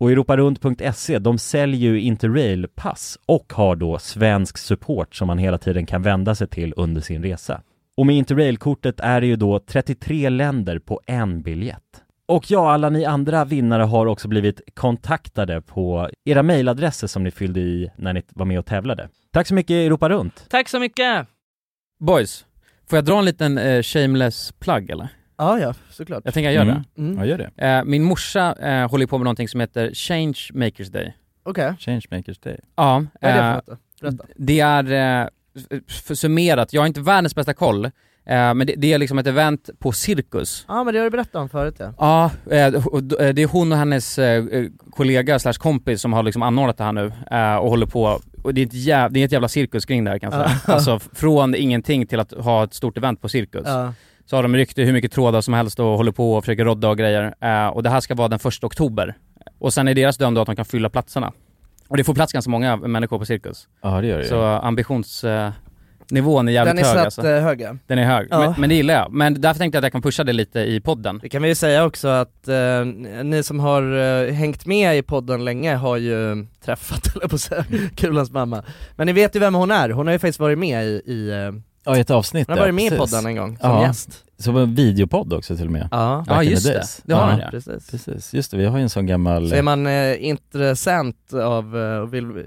Och europarunt.se, E, de säljer ju Interrail-pass och har då svensk support som man hela tiden kan vända sig till under sin resa. Och med Interrail-kortet är det ju då 33 länder på en biljett. Och ja, alla ni andra vinnare har också blivit kontaktade på era mejladresser som ni fyllde i när ni var med och tävlade. Tack så mycket Europa Runt!
Tack så mycket!
Boys, får jag dra en liten eh, shameless plug eller?
Ja, ja, såklart.
Jag tänker jag gör
Mm.
Mm.
Ja, gör det.
det. Eh, min morsa eh, håller på med någonting som heter Change Makers Day.
Okej,
Changemakers Day.
Ja,
vad är det
eh,
för något då? Berätta.
Det är, eh, f- f- summerat, jag har inte världens bästa koll, eh, men det, det är liksom ett event på Cirkus.
Ja, men det har du berättat om förut ja.
Ja, eh, och d- eh, det är hon och hennes eh, eh, kollega slash kompis som har liksom anordnat det här nu eh, och håller på, och det är ett jävla, det är ett jävla cirkus kring det här kan jag säga.
Ja.
Alltså f- från ingenting till att ha ett stort event på Cirkus.
ja.
Så har de ryckt i hur mycket trådar som helst och håller på och försöker rodda och grejer. Eh, och det här ska vara den 1 oktober. Och sen är deras döm då att de kan fylla platserna. Och det får plats ganska många människor på Cirkus.
Ja, det gör
Så ambitionsnivån är jävligt
Den är
hög
satt
alltså.
eh, hög ja.
Den är hög.
Ja.
Men, men det gillar jag. Men därför tänkte jag att jag kan pusha det lite i podden.
Det kan vi ju säga också att eh, ni som har eh, hängt med i podden länge har ju träffat, eller på att säga, Kulans mamma. Men ni vet ju vem hon är, hon har ju faktiskt varit med i, i eh, hon
Ja, i ett avsnitt
har
där,
varit med i
precis.
podden en gång som
Ja.
gäst.
Som en videopodd också till och med.
Ja,
Ja
Back in
just
the
det,
days.
det har den
Ja.
ja.
precis.
Precis, just det, vi har ju en sån gammal...
Så är man eh, intressant av, eh, och vill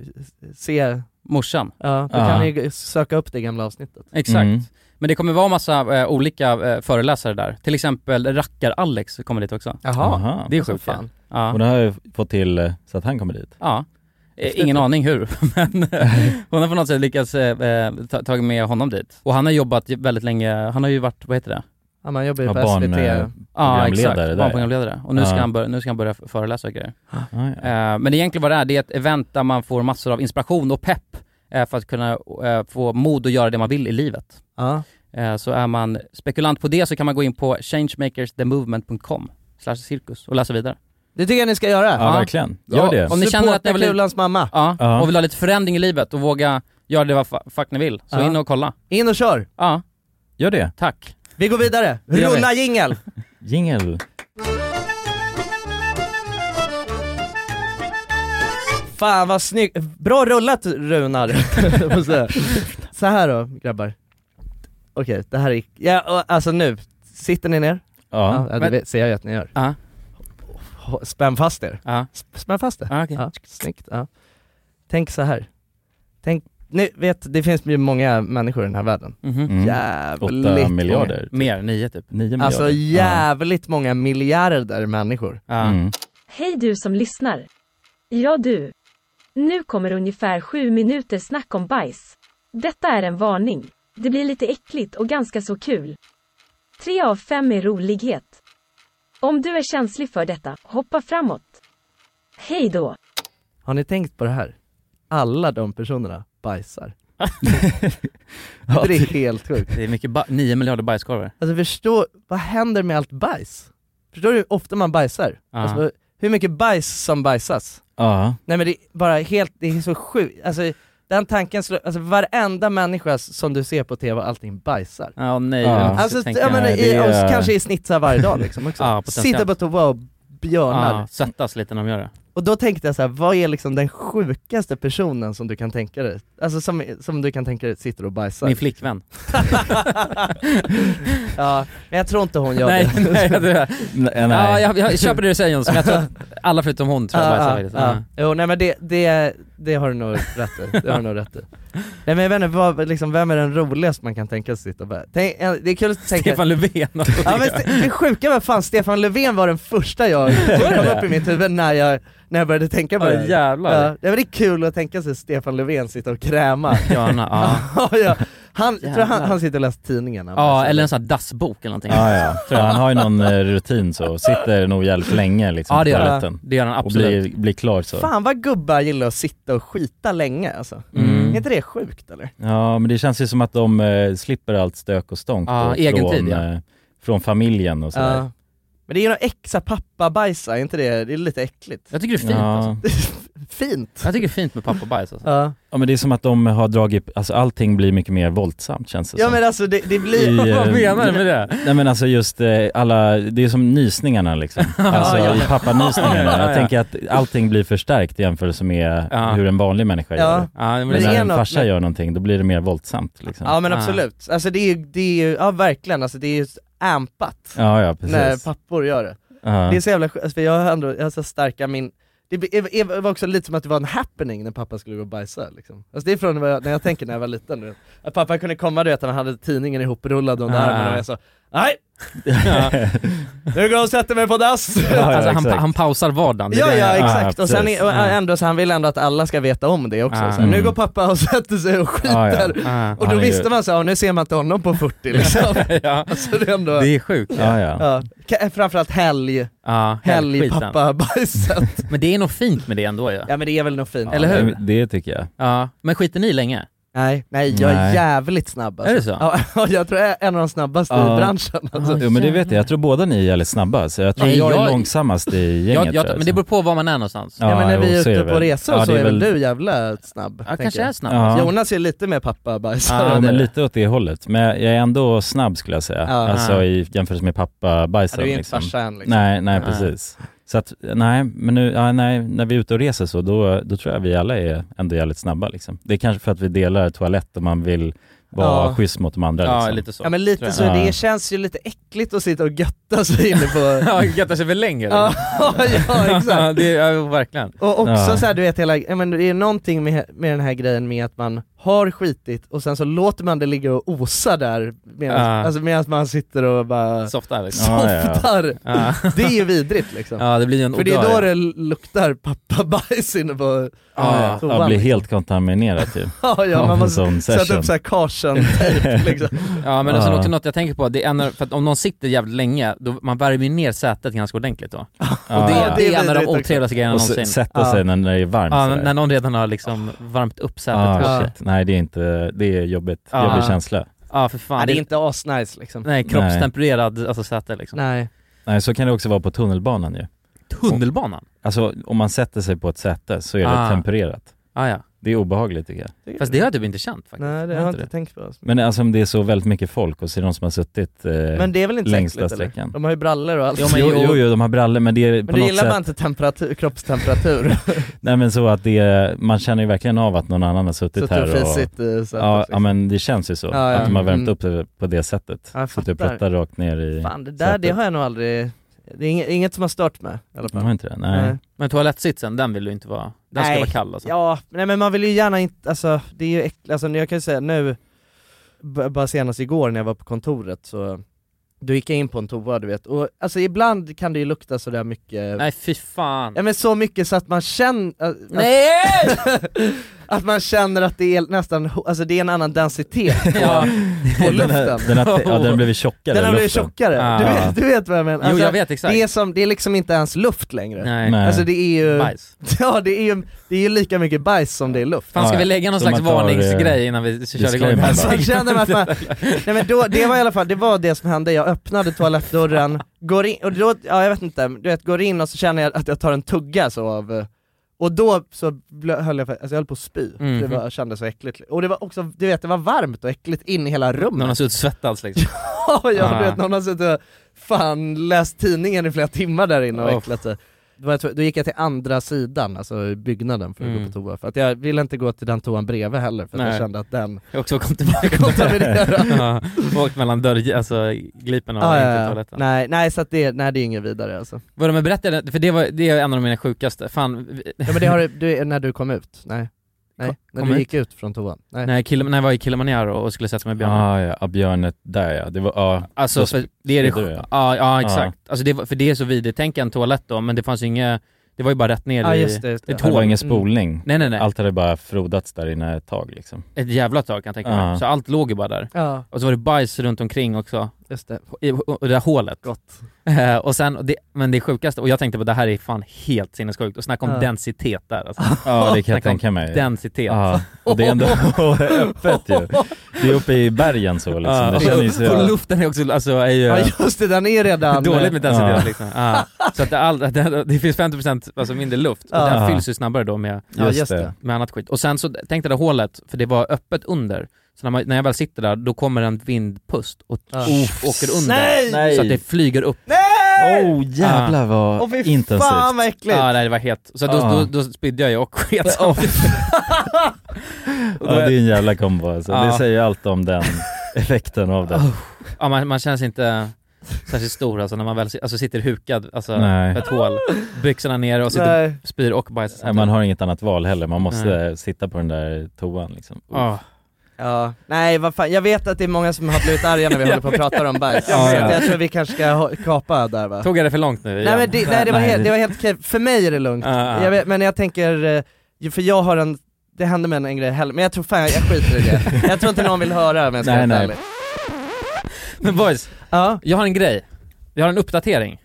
se,
Morsan.
ja, då
Ja.
kan ni ju söka upp det gamla avsnittet.
Exakt.
Mm.
Men det kommer vara massa eh, olika eh, föreläsare där. Till exempel Rackar-Alex kommer dit också.
Aha.
Det är
Som
sjukt ja.
fan.
ja.
Hon har ju fått till eh, så att han kommer dit.
ja. Eh, Ingen aning hur, men eh, hon har på något sätt lyckats eh, eh, ta tagit med honom dit. Och han har jobbat väldigt länge, han har ju varit, vad heter det?
Ja, man jobbar ju
Ja,
på
barn,
SVT.
eh,
Ja
Programledare
exakt,
där, ja.
barnprogramledare. Och nu ska,
Ja.
han börja, nu ska han börja föreläsa och grejer.
Ja, ja.
Eh, Men egentligen vad det är, det är ett event där man får massor av inspiration och pepp eh, för att kunna eh, få mod att göra det man vill i livet.
Ja.
Eh, Så är man spekulant på det så kan man gå in på changemakersthemovement.com slash cirkus och läsa vidare.
Det tycker jag ni ska göra.
Ja, verkligen. Gör det.
Om ni känner att ni
Supporta
vill-
Kulans mamma.
Ja,
Ja.
och vill ha lite förändring i livet och våga göra det vad fa- fuck ni vill, så
Ja.
in och kolla.
In och kör!
Ja,
Gör det.
tack.
Vi går vidare.
Det gör vi.
Rulla jingel!
Jingel.
Fan vad snyggt, bra rullat Runar! Jag måste säga. så här då grabbar. Okej, det här är, ja, och, alltså nu, sitter ni ner?
Ja.
ja det
men-
vet, ser jag ju att ni gör.
Ja.
H- Spänn fast er.
Ja.
Sp- Spänn fast er.
Ja, okej.
Ja, snyggt. Ja. Tänk så här. Tänk, ni vet det finns ju många människor i den här världen.
Mhm.
Mm.
Jävligt
Åtta
Många.
miljarder.
Mer, nio typ.
Nio miljarder.
Alltså
Ja.
jävligt många miljarder människor.
Ja.
Mm.
Hej du som lyssnar. Ja du. Nu kommer ungefär 7 minuter snack om bajs. Detta är en varning. Det blir lite äckligt och ganska så kul. 3 av 5 är rolighet. Om du är känslig för detta, hoppa framåt. Hej då.
Har ni tänkt på det här? Alla de personerna bajsar.
Ja,
Det är
det-
helt sjukt.
Det är mycket, ba- nio miljarder bajskorvar.
Alltså förstå, vad händer med allt bajs? Förstår du hur ofta man bajsar?
Ja.
Alltså, hur mycket bajs som bajsas?
Ja.
Nej men det är bara helt, det är så sjukt, alltså den tanken, slår, alltså varenda människa som du ser på tv, allting bajsar.
Ja, nej.
Ja.
jag måste
Alltså
tänka-
jag menar,
Nej, det
i,
är-
och kanske i snitt så här varje dag liksom också.
Ja, potentiellt.
Sitter på toa och björnar.
Ja, svettas lite när de gör det.
Och då tänkte jag så här, vad är liksom den sjukaste personen som du kan tänka dig? Alltså som, som du kan tänka dig sitter och bajsar.
Min flickvän.
ja, men jag tror inte hon gör
nej,
det.
nej, det
Nej, nej.
Ja, jag, jag köper det du säger Jonsson, men jag tror att alla förutom hon tror jag
Ja,
bajsar
ja,
faktiskt.
ja. Jo nej men det, det, det har du nog rätt i, det har du nog rätt i. Nej men jag vet inte, vad, liksom, vem är den roligaste man kan tänka sig sitta och bara, tänk, eh, det är kul att tänka
Stefan Löfven
Ja men Ste- det sjuka var fan Stefan Löfven var den första jag som kom upp i mitt huvud när jag, när jag började tänka på
Ja,
det här.
jävlar.
Ja, det var det är kul att tänka sig Stefan Löfven sitta och kräma
Björna, ja.
Ja, ja. Han, jag tror han,
Jävlar.
han sitter och läser tidningarna Alltså,
ja, eller en sån här dassbok eller någonting.
Ja, ja. Tror jag. Han har ju någon eh, rutin så, sitter nog jävligt länge liksom
Ja, det
på
gör han.
toaletten.
Det gör han
Och
absolut.
blir, blir klar så.
Fan vad gubbar gillar att sitta och skita länge alltså.
Mm.
Är inte det sjukt eller?
Ja, men det känns ju som att de eh, slipper allt stök och stånk
Ja,
då,
egen
från,
tid, ja.
eh, från familjen och sådär.
Ja. Men det är ju något äckligt, pappabajsa, är inte det, det är lite äckligt?
Jag tycker det är fint
Ja.
alltså.
Fint!
Jag tycker det är fint med pappabajs alltså.
Ja,
Ja men det är som att de har dragit, alltså allting blir mycket mer våldsamt känns det
ja
som.
men alltså det, det blir,
I, eh,
Vad menar du med det?
Nej men alltså just eh, alla, det är som nysningarna liksom. Alltså
Ja, ja.
i pappanysningarna.
Ja, ja.
Jag tänker att allting blir förstärkt i jämförelse med
Ja.
hur en vanlig människa gör.
ja.
det.
Ja, men
Men
det
när
är
en
något
farsa
med-
gör någonting då blir det mer våldsamt liksom.
Ja men
Ah.
absolut, alltså det är ju, det är ju ja verkligen, alltså det är ju ampat
Ja ja precis.
när pappor gör det.
ja.
Det är så jävla skönt, för jag har ändå, jag har så starka min det blir- det var också lite som att det var en happening när pappa skulle gå och bajsa liksom. alltså det är från vad jag, när jag tänker när jag var liten du vet. Att pappa kunde komma du vet, han hade tidningen ihoprullad under
Ah.
armen och jag sa Nej! Nu går jag och sätter mig på dass!
Ja, ja,
Alltså han,
exakt.
han pausar vardagen. det är
Ja
det-
ja exakt,
Ja,
och sen
precis.
är, och
Ja.
ändå så han vill ändå att alla ska veta om det också.
Ah.
Så här, nu
Mm.
går pappa och sätter sig och skiter.
Ja, ja.
Ah.
Och
Han
då
är ju-
visste man så här, "Ja, nu ser man inte honom på 40 liksom.
ja.
alltså det är ändå,
Det är sjukt.
Ja, ja.
ja. Ka- Framförallt helg,
Ja,
helg,
helgskiten.
pappa, bajset.
Men det är nog fint med det ändå ju. Ja.
ja men det är väl något fint.
Ja,
Eller hur?
Det, det tycker jag.
Men skiter ni länge?
Nej, nej jag är
Nej.
jävligt snabb alltså.
Är det så?
Ja, jag tror jag är en av de snabbaste
Ja.
i branschen alltså.
jo men det vet jag, jag tror båda ni är jävligt snabba så jag tror
Nej,
jag,
jag-
är långsammast i gänget.
Jag,
tror
jag,
jag,
men det
så.
beror på var man är någonstans.
Ja, men när
jo,
vi är
så
ute
det
på
väl.
resor
Ja,
så
det
är väl du jävla snabb?
Jag
tänker
kanske
jag.
är snabb.
Ja.
Jonas är lite mer pappa bajs.
Ja,
Ja
det är
men
det.
lite åt det hållet, men jag jag är ändå snabb skulle jag säga.
Ja.
Alltså i jämförelse med pappa
du är ju inte
liksom.
farsa än liksom.
Nej, nej
Nej.
precis. Så att, nej, men nu, ja, nej, när vi är ute och reser så, då, då tror jag vi alla är ändå jävligt snabba liksom. Det är kanske för att vi delar toalett och man vill vara
Ja.
schysst mot de andra
Ja,
liksom.
lite så.
Ja men lite så,
jag. Ja.
det känns ju lite äckligt att sitta och götta sig inne på...
Ja, göttar sig för länge.
ja, ja exakt.
det, är- ja, verkligen.
Och också
Ja.
så här, du vet hela, ja, men det är någonting med, med den här grejen med att man har skitit och sen så låter man det ligga och osa där medan
Ja.
alltså, medans man sitter och bara
Softa liksom.
Ja, ja, ja.
softar.
Ja.
Det är ju vidrigt liksom.
ja, det blir ju en
För det är
odör.
då det luktar pappabajs inne på
Ja,
toan.
Ja, blir
liksom.
helt kontaminerad typ.
ja, ja,
av
man
en
måste
sån
sätta
session.
upp såhär Carson-tejp liksom.
Ja men och sen
Ja.
också något jag tänker på, det är när, för att om någon sitter jävligt länge, då man värmer ju ner sätet ganska ordentligt då. och det,
ja.
det är en av
vidrigt
de
också.
otrevligaste grejerna
Och s-
någonsin.
sätta sig när när det är varmt
Ja,
sådär.
när någon redan har liksom varmt upp sätet.
ah,
Ja,
shit. Nej det är inte, det är jobbigt,
Ja.
jobbig känsla.
för fan.
Ja, det är
det-
inte asnice liksom.
Nej, kroppstempererad alltså säte liksom.
Nej.
Nej så kan det också vara på tunnelbanan ju.
Tunnelbanan?
Alltså om man sätter sig på ett säte så är det
Ah.
tempererat.
Ah, ja.
Det är obehagligt tycker jag.
Fast det har jag typ inte känt faktiskt.
Nej det har jag inte tänkt på. Alltså.
Men alltså om det är så väldigt mycket folk och så är det någon som har suttit eh,
Men det är väl inte
längsta
äckligt, eller?
sträckan.
De har ju brallor och allt.
Jo, men, jo, jo, jo, de har brallor men det är
Men
på
då
något
gillar
sätt,
man inte temperatur, kroppstemperatur.
nej men så att det är, man känner ju verkligen av att någon annan har suttit
Suttit
här
och
och,
fisit i sätet
ja, ja
liksom.
men det känns ju så,
Ja, ja.
att de har värmt
Mm.
upp det på det sättet.
Ja, jag
så att du
fattar.
pruttar rakt ner i
Fan det där, det har jag nog aldrig, det är inget, inget som har stört mig i alla
De
fall.
har inte det? Nej.
Nej.
Men toalettsitsen, den vill du inte vara, den ska
Nej.
vara kall alltså.
Ja, nej men man vill ju gärna inte, alltså det är ju äckligt, alltså jag kan ju säga nu, b- bara senast igår när jag var på kontoret så, då gick jag in på en toa du vet, och alltså ibland kan det ju lukta sådär mycket,
Nej fy fan.
ja men så mycket så att man känner, att-
Nej!
att man känner att det är nästan, alltså det är en annan densitet på,
Ja.
på
Den,
luften.
har, den, har, ja, den har blivit tjockare
Den har
i
blivit
luften.
tjockare,
Ah.
du, vet, du vet vad jag menar?
Jo
Alltså,
jag vet exakt.
det, är som, det är liksom inte ens luft längre.
Nej.
Nej.
Alltså det är ju,
Bajs.
ja det är ju, det är ju lika mycket bajs som det är luft.
Fan ska
Ja,
vi
ja.
lägga någon
Så
slags
man tar, eh,
varningsgrej innan vi kör igång?
disclaimer
Alltså,
bara.
Man känner att man, nej men då, det var i alla fall, det var det som hände, jag öppnade toalettdörren, går in, och då, ja jag vet inte, du vet går in och så känner jag att jag tar en tugga så av, eh, och då så blö- höll jag, alltså jag höll på att spy,
Mm.
det var, kändes så äckligt. Och det var också, du vet det var varmt och äckligt in i hela
Någon har
rummet.
suttit svettats liksom.
Ja, jag,
Ah.
du vet, någon har suttit och fan läst tidningen i flera timmar där inne och
Oh.
äcklat sig. Då, var jag tv- då gick jag till andra sidan, alltså i byggnaden för att
Mm.
gå på toa, för att jag ville inte gå till den toan bredvid heller för att
Nej.
jag kände att den
Jag också kom tillbaka.
kontaminerade
ja, åkt mellan dörr, alltså glipen och
Ja,
in
ja,
till
ja.
toaletten.
Nej, nej så att det, nej, det är inget vidare alltså.
Vadå men berätta, för det var, det är en av mina sjukaste, fan, vi-
Ja men det har du, du när du kom ut, nej. Nej, när
kommer
du gick
ut.
ut från toan. Nej.
Nej, Kille, när jag var i Kilimanjaro och skulle sätta mig med björnen.
Ah, ja, ja, björnet där ja, det var, ja.
Alltså,
Då
för
sp-
det är det,
spydde du,
ja.
ja.
Ja, exakt. Alltså det, var- för det är så vidrigt. Tänk en toalett då, men det fanns ju inget, det var ju bara rätt ner
Ja,
i
just det, just det.
ett
Det
hål.
var ingen
Mm.
spolning.
Nej, nej, nej.
Allt hade bara frodats där inne ett tag liksom.
Ett jävla tag kan jag tänka mig.
Ja.
Så allt låg ju bara där.
Ja,
Och så var det bajs runt omkring också,
just det.
i, och det där hålet. Eh, och sen, och det, men det sjukaste, och jag tänkte på det här är fan helt sinnessjukt, och snacka om
Ja.
densitet där alltså.
Ja, det kan
Snacka
jag
om
tänka mig.
Densitet.
Eh, Ja, och det är ändå öppet ju. Det är uppe i bergen så liksom.
Ja,
Det känns ju...
och, och luften är också, alltså är ju...
Ja just det, den är redan...
Dåligt med densitet
Ja.
liksom. Ja. Så att det, all, att det, det finns 50% alltså mindre luft och
Ja.
den
Ja.
fylls ju snabbare då med,
Ja, just det.
med annat skit. Och sen så tänkte jag det hålet, för det var öppet under, så när, man, när jag väl sitter där då kommer en vindpust och
Ja.
uff, åker under.
Nej!
Nej.
Så att det flyger upp.
Nej!
Oh jävlar vad
Åh, fy
intensivt.
fan vad äckligt!
Ja, nej, det var helt... Så då,
Ja.
då, då spydde jag ju och sket
Ja.
samtidigt.
Ja det är en jävla kombo alltså.
Ja.
Det säger ju allt om den effekten av det.
Ja, man, man känns inte särskilt stor alltså när man väl si- alltså, sitter hukad, alltså
Nej.
för ett hål, byxorna ner och sitter
Nej.
spyr och bajsar
Nej,
samtidigt.
man har inget annat val heller, man måste sitta på den där toan liksom.
Ja.
Ja, nej vad fan, jag vet att det är många som har blivit arga när vi håller på och pratar om bajs.
Jag
Så
vet.
att jag tror vi kanske ska ha- kapa där va?
Tog jag det för långt nu?
Nej
igen?
men det, nej, det, var,
Nej,
helt,
det-
det var helt okej, för mig är det lugnt.
Ja, ja.
Jag vet, men jag tänker, eh, ju- för jag har en, det hände mig en grej heller, men jag tror fan jag skiter i det. Jag tror inte någon vill höra om jag ska
Nej,
vara
nej.
ärlig.
Men boys,
Ja,
jag har en grej. Jag har en uppdatering.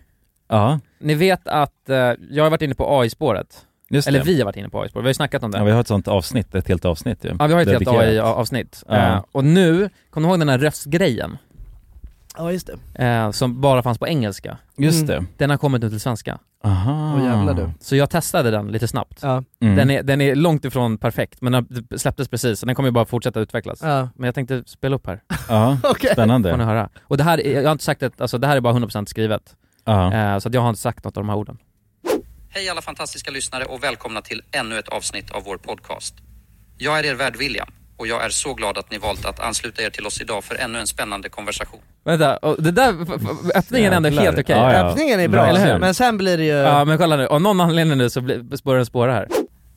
Ja,
Ni vet att eh, jag har varit inne på AI-spåret.
just
Eller
det.
vi har varit inne på AI-spåret, vi har ju snackat om det.
Ja, vi har ett sånt avsnitt, ett helt avsnitt ju.
Ja, vi har ju ett helt
Dedikerat.
AI-avsnitt.
Ja.
Eh, och nu, kommer ni ihåg den här röstgrejen?
ja just det.
Eh, som bara fanns på engelska.
Just det.
Den har kommit nu till svenska.
Aha.
Åh, jävlar du.
Så jag testade den lite snabbt.
Ja,
Mm.
Den, är, den är långt ifrån perfekt, men den släpptes precis, så den kommer ju bara fortsätta utvecklas.
ja.
Men jag tänkte spela upp här,
Ja,
Okej.
får ni
spännande.
höra. Och det här, är- jag har inte sagt att, alltså det här är bara 100% skrivet.
Ja.
Eh, så att jag har inte sagt något av de här orden.
Hej alla fantastiska lyssnare och välkomna till ännu ett avsnitt av vår podcast. Jag är er värd William och jag är så glad att ni valt att ansluta er till oss idag för ännu en spännande konversation.
Vänta, och det där, f- f- öppningen är ändå
Jävlar.
helt okej.
Ja, ja.
Öppningen är bra,
Eller hur?
men sen blir det ju...
Ja, men kolla nu, av någon anledning nu så blir- börjar den spåra här.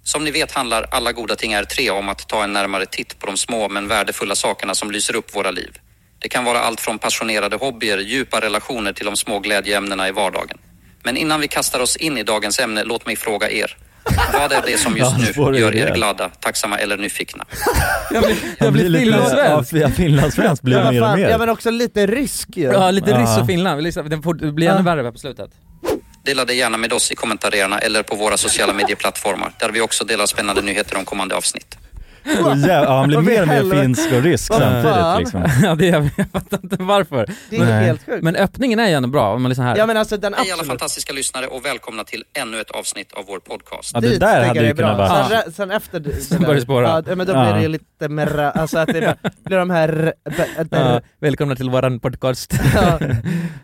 Som ni vet handlar Alla goda ting är tre om att ta en närmare titt på de små men värdefulla sakerna som lyser upp våra liv. Det kan vara allt från passionerade hobbyer, djupa relationer till de små glädjeämnena i vardagen. Men innan vi kastar oss in i dagens ämne, låt mig fråga er. Vad är det som
Ja,
just
svår
nu gör
idé.
er glada, tacksamma eller nyfikna?
Jag blir, jag blir
lite-
finlandssvensk.
Ja, finlandssvensk blir
Ja,
det mer och
fan,
mer.
ja men också lite rysk ju.
Ja, lite ryss
Ja.
och Finland. Vi liksom- Det får- det blir ännu
Ja.
värre på slutet.
Dela det gärna med oss i kommentarerna eller på våra sociala medieplattformar där vi också delar spännande nyheter om kommande avsnitt.
Och jä- ja, han blir
Vad i
mer och mer
helvete?
finsk och rysk
Vad fan?
samtidigt liksom.
ja, det, jag fattar inte varför.
Det är
Nej.
helt sjukt.
Men öppningen är ju ändå bra, om man lyssnar här.
ja men alltså den
Hej alla
absolut.
fantastiska lyssnare och välkomna till ännu ett avsnitt av vår podcast.
Ja, det
Dit
där
tycker jag
hade
det är
ju kunnat
bra.
vara...
Sen, re- sen efter det
Sen börjar det spåra.
Ja, men då
Ja.
blir det ju lite mer, alltså att det bara- blir de här... r- b- b-
Ja, välkomna till våran podcast.
ja. ja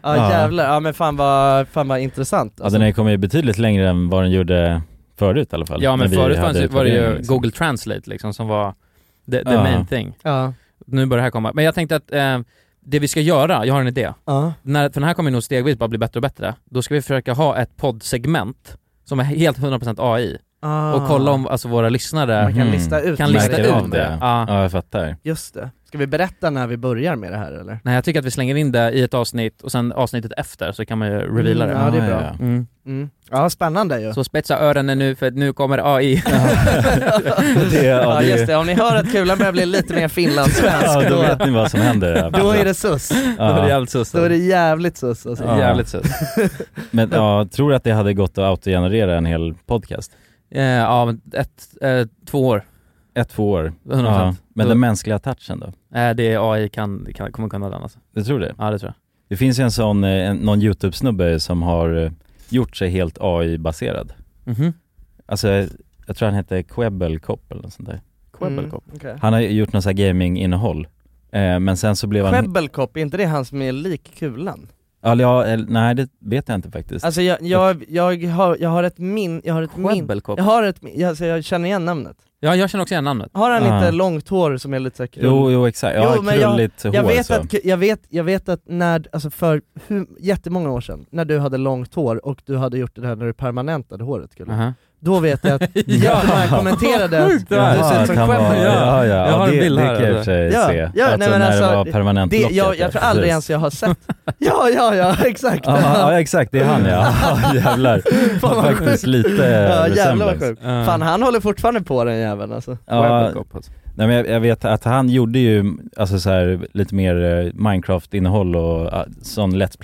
Ja.
jävlar, ja men fan vad, fan vad intressant alltså.
Ja, Alltså, den har ju kommit betydligt längre än vad den gjorde förut i alla fall.
Ja men
När vi
förut
hade
fanns, ju- var det
utvärderingen,
ju
liksom.
Google Translate liksom som var the, the
Ja.
main thing.
Ja,
Nu börjar det här komma. Men jag tänkte att eh, det vi ska göra, jag har en idé.
ja.
När, för den här kommer nog stegvis bara bli bättre och bättre. Då ska vi försöka ha ett poddsegment som är helt 100% AI
Ah.
och kolla om alltså, våra lyssnare
Man kan
Mhm.
lista ut
kan
det.
lista
Märker
ut
av det.
Ja.
Ja, jag fattar.
Just det. Ska vi berätta när vi börjar med det här eller?
Nej jag tycker att vi slänger in det i ett avsnitt och sen avsnittet efter så kan man ju reveala
Mm,
det.
ja, det är bra.
Ah, ja.
Mm.
Mm. Ja, spännande ju.
Så spetsa öronen nu för nu kommer AI.
Det, ja,
Ja
det,
just det, om ni hör att kulan börjar bli lite mer finlandssvensk
Ja, då
då,
vet ni vad som händer. i alla fall.
då är det sus.
Då är det
ja.
jävligt sus.
Då är det jävligt sus alltså.
Ja.
Jävligt sus.
Men ja, tror du att det hade gått att autogenerera en hel podcast?
Eh, Ja, men ett, eh, två år.
Ett, två år.
100%.
Ja. Men
Då-
den mänskliga touchen då?
Nej, Eh, det är AI kan, kan, kommer kunna den alltså.
Du tror det?
Ja det tror jag.
Det finns ju en sån, eh, en, någon YouTube-snubbe som har eh, gjort sig helt AI-baserad.
Mm.
Mhm.
Alltså, jag, jag tror han heter Quebbelkopp eller något sånt där.
Quebbelkop. Mm, okay.
Han har ju gjort något sånt här gaming-innehåll. Eh, men sen så blev han...
Quebbelkop, är inte det han som är lik kulan?
Eller, ja, eller, nej det vet jag inte faktiskt.
Alltså jag, jag, jag, har, jag har ett min, jag har ett min,
Quebbelkop.
jag har ett min, jag- alltså jag känner igen namnet.
Ja, jag känner också igen namnet.
Har han
Ah.
inte långt hår som är lite såhär krull?
jo, jo exakt. Ja,
Jo, men jag-
krulligt hår
jag, vet
så.
att, jag, vet, jag vet att när, alltså för hur, jättemånga år sedan, när du hade långt hår och du hade gjort det här när du permanentade håret kulan,
Aha.
då vet jag att jättemånga kommenterade att
det här.
du ser ut som
kan
Quemmy.
vara- ja, ja,
Jag har en
det,
bild här,
Det kan jag i
eller?
och för sig
Ja,
se.
ja,
alltså,
nej, men
när
alltså,
det var permanent
Det, jag,
locket, ja,
jag tror aldrig ens
precis.
jag har sett. Ja, ja, ja, exakt.
Ja, ja, exakt, det är han ja. Ja, jävlar.
Fan, vad
Faktiskt
sjukt.
lite
Ja, jävlar vad
resemblance.
sjukt. Fan han håller fortfarande på den jäveln alltså.
Ja, nej, men jag, jag vet att han gjorde ju alltså, så här, lite mer eh, Minecraft-innehåll och eh, sån Let's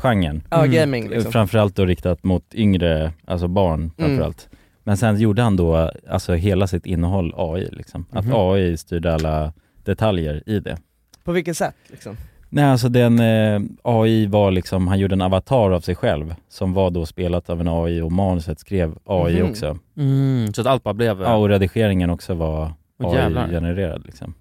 Play-genren.
Ja, gaming,
Mm,
liksom.
Framförallt då riktat mot yngre, alltså barn framförallt. Men sen gjorde han då alltså hela sitt innehåll AI liksom. Att
Mhm.
AI styrde alla detaljer i det.
På vilket sätt liksom?
Nej alltså den eh, AI var liksom, han gjorde en avatar av sig själv som var då spelat av en AI och manuset skrev AI
Mhm.
också.
Mm, så att allt bara blev...
Ja och redigeringen också var
Åh, jävlar.
AI-genererad liksom.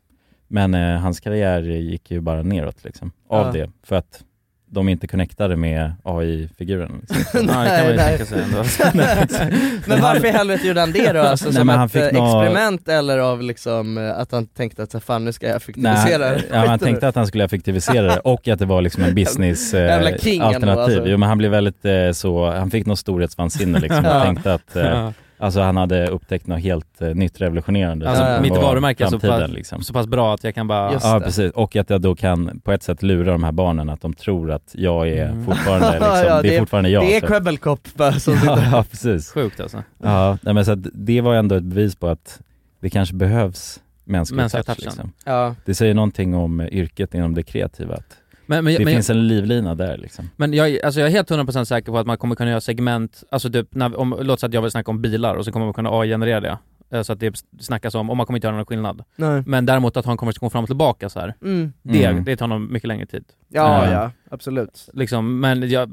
Men eh, hans karriär gick ju bara neråt liksom, av
Ja.
det. För att de inte connectade med AI-figuren. Liksom. Så-
Nej, det kan man ju tänka sig ändå.
Nej, exakt.
Men varför i helvete gjorde han det då? Alltså
Nej,
som
men han
ett
fick
eh,
nå-
experiment eller av liksom eh, att han tänkte att så här, fan nu ska jag
Nej,
effektivisera det här
ja, han
skiten nu.
tänkte att han skulle effektivisera det och att det var liksom en business eh,
Jävla king ändå,
alternativ.
alltså.
Jo men han blev väldigt eh, så, han fick något storhetsvansinne liksom. Han
Ja.
tänkte att eh,
Ja.
alltså, han hade upptäckt något helt eh, nytt revolutionerande.
Alltså
som
mitt
var
varumärke är så
framtiden,
pass,
liksom.
så pass bra att jag kan bara...
Ja precis, och att jag då kan på ett sätt lura de här barnen att de tror att jag är fortfarande liksom,
Mm. Ja,
det, är fortfarande jag.
Det är
så-
Quebbelkop bara som
ja,
sitter
ja precis.
Sjukt alltså.
Ja, nej, men så att det var ju ändå ett bevis på att det kanske behövs mänsklig
Mänskliga
touch.
touchen.
Liksom.
Ja.
Det säger någonting om yrket inom det kreativa. Att
Men- men-
det
men-
finns en livlina där liksom.
Men jag, alltså jag är helt 100% säker på att man kommer kunna göra segment, alltså typ, när, om, låt säga att jag vill snacka om bilar och så kommer man kunna AI-generera det. Eh, Så att det snackas om, och man kommer inte göra någon skillnad.
Nej.
Men däremot att ha en konversation fram och tillbaka så här,
Mm.
det,
Mm.
det tar nog mycket längre tid.
Ja,
Eh,
ja, absolut.
Liksom, men jag,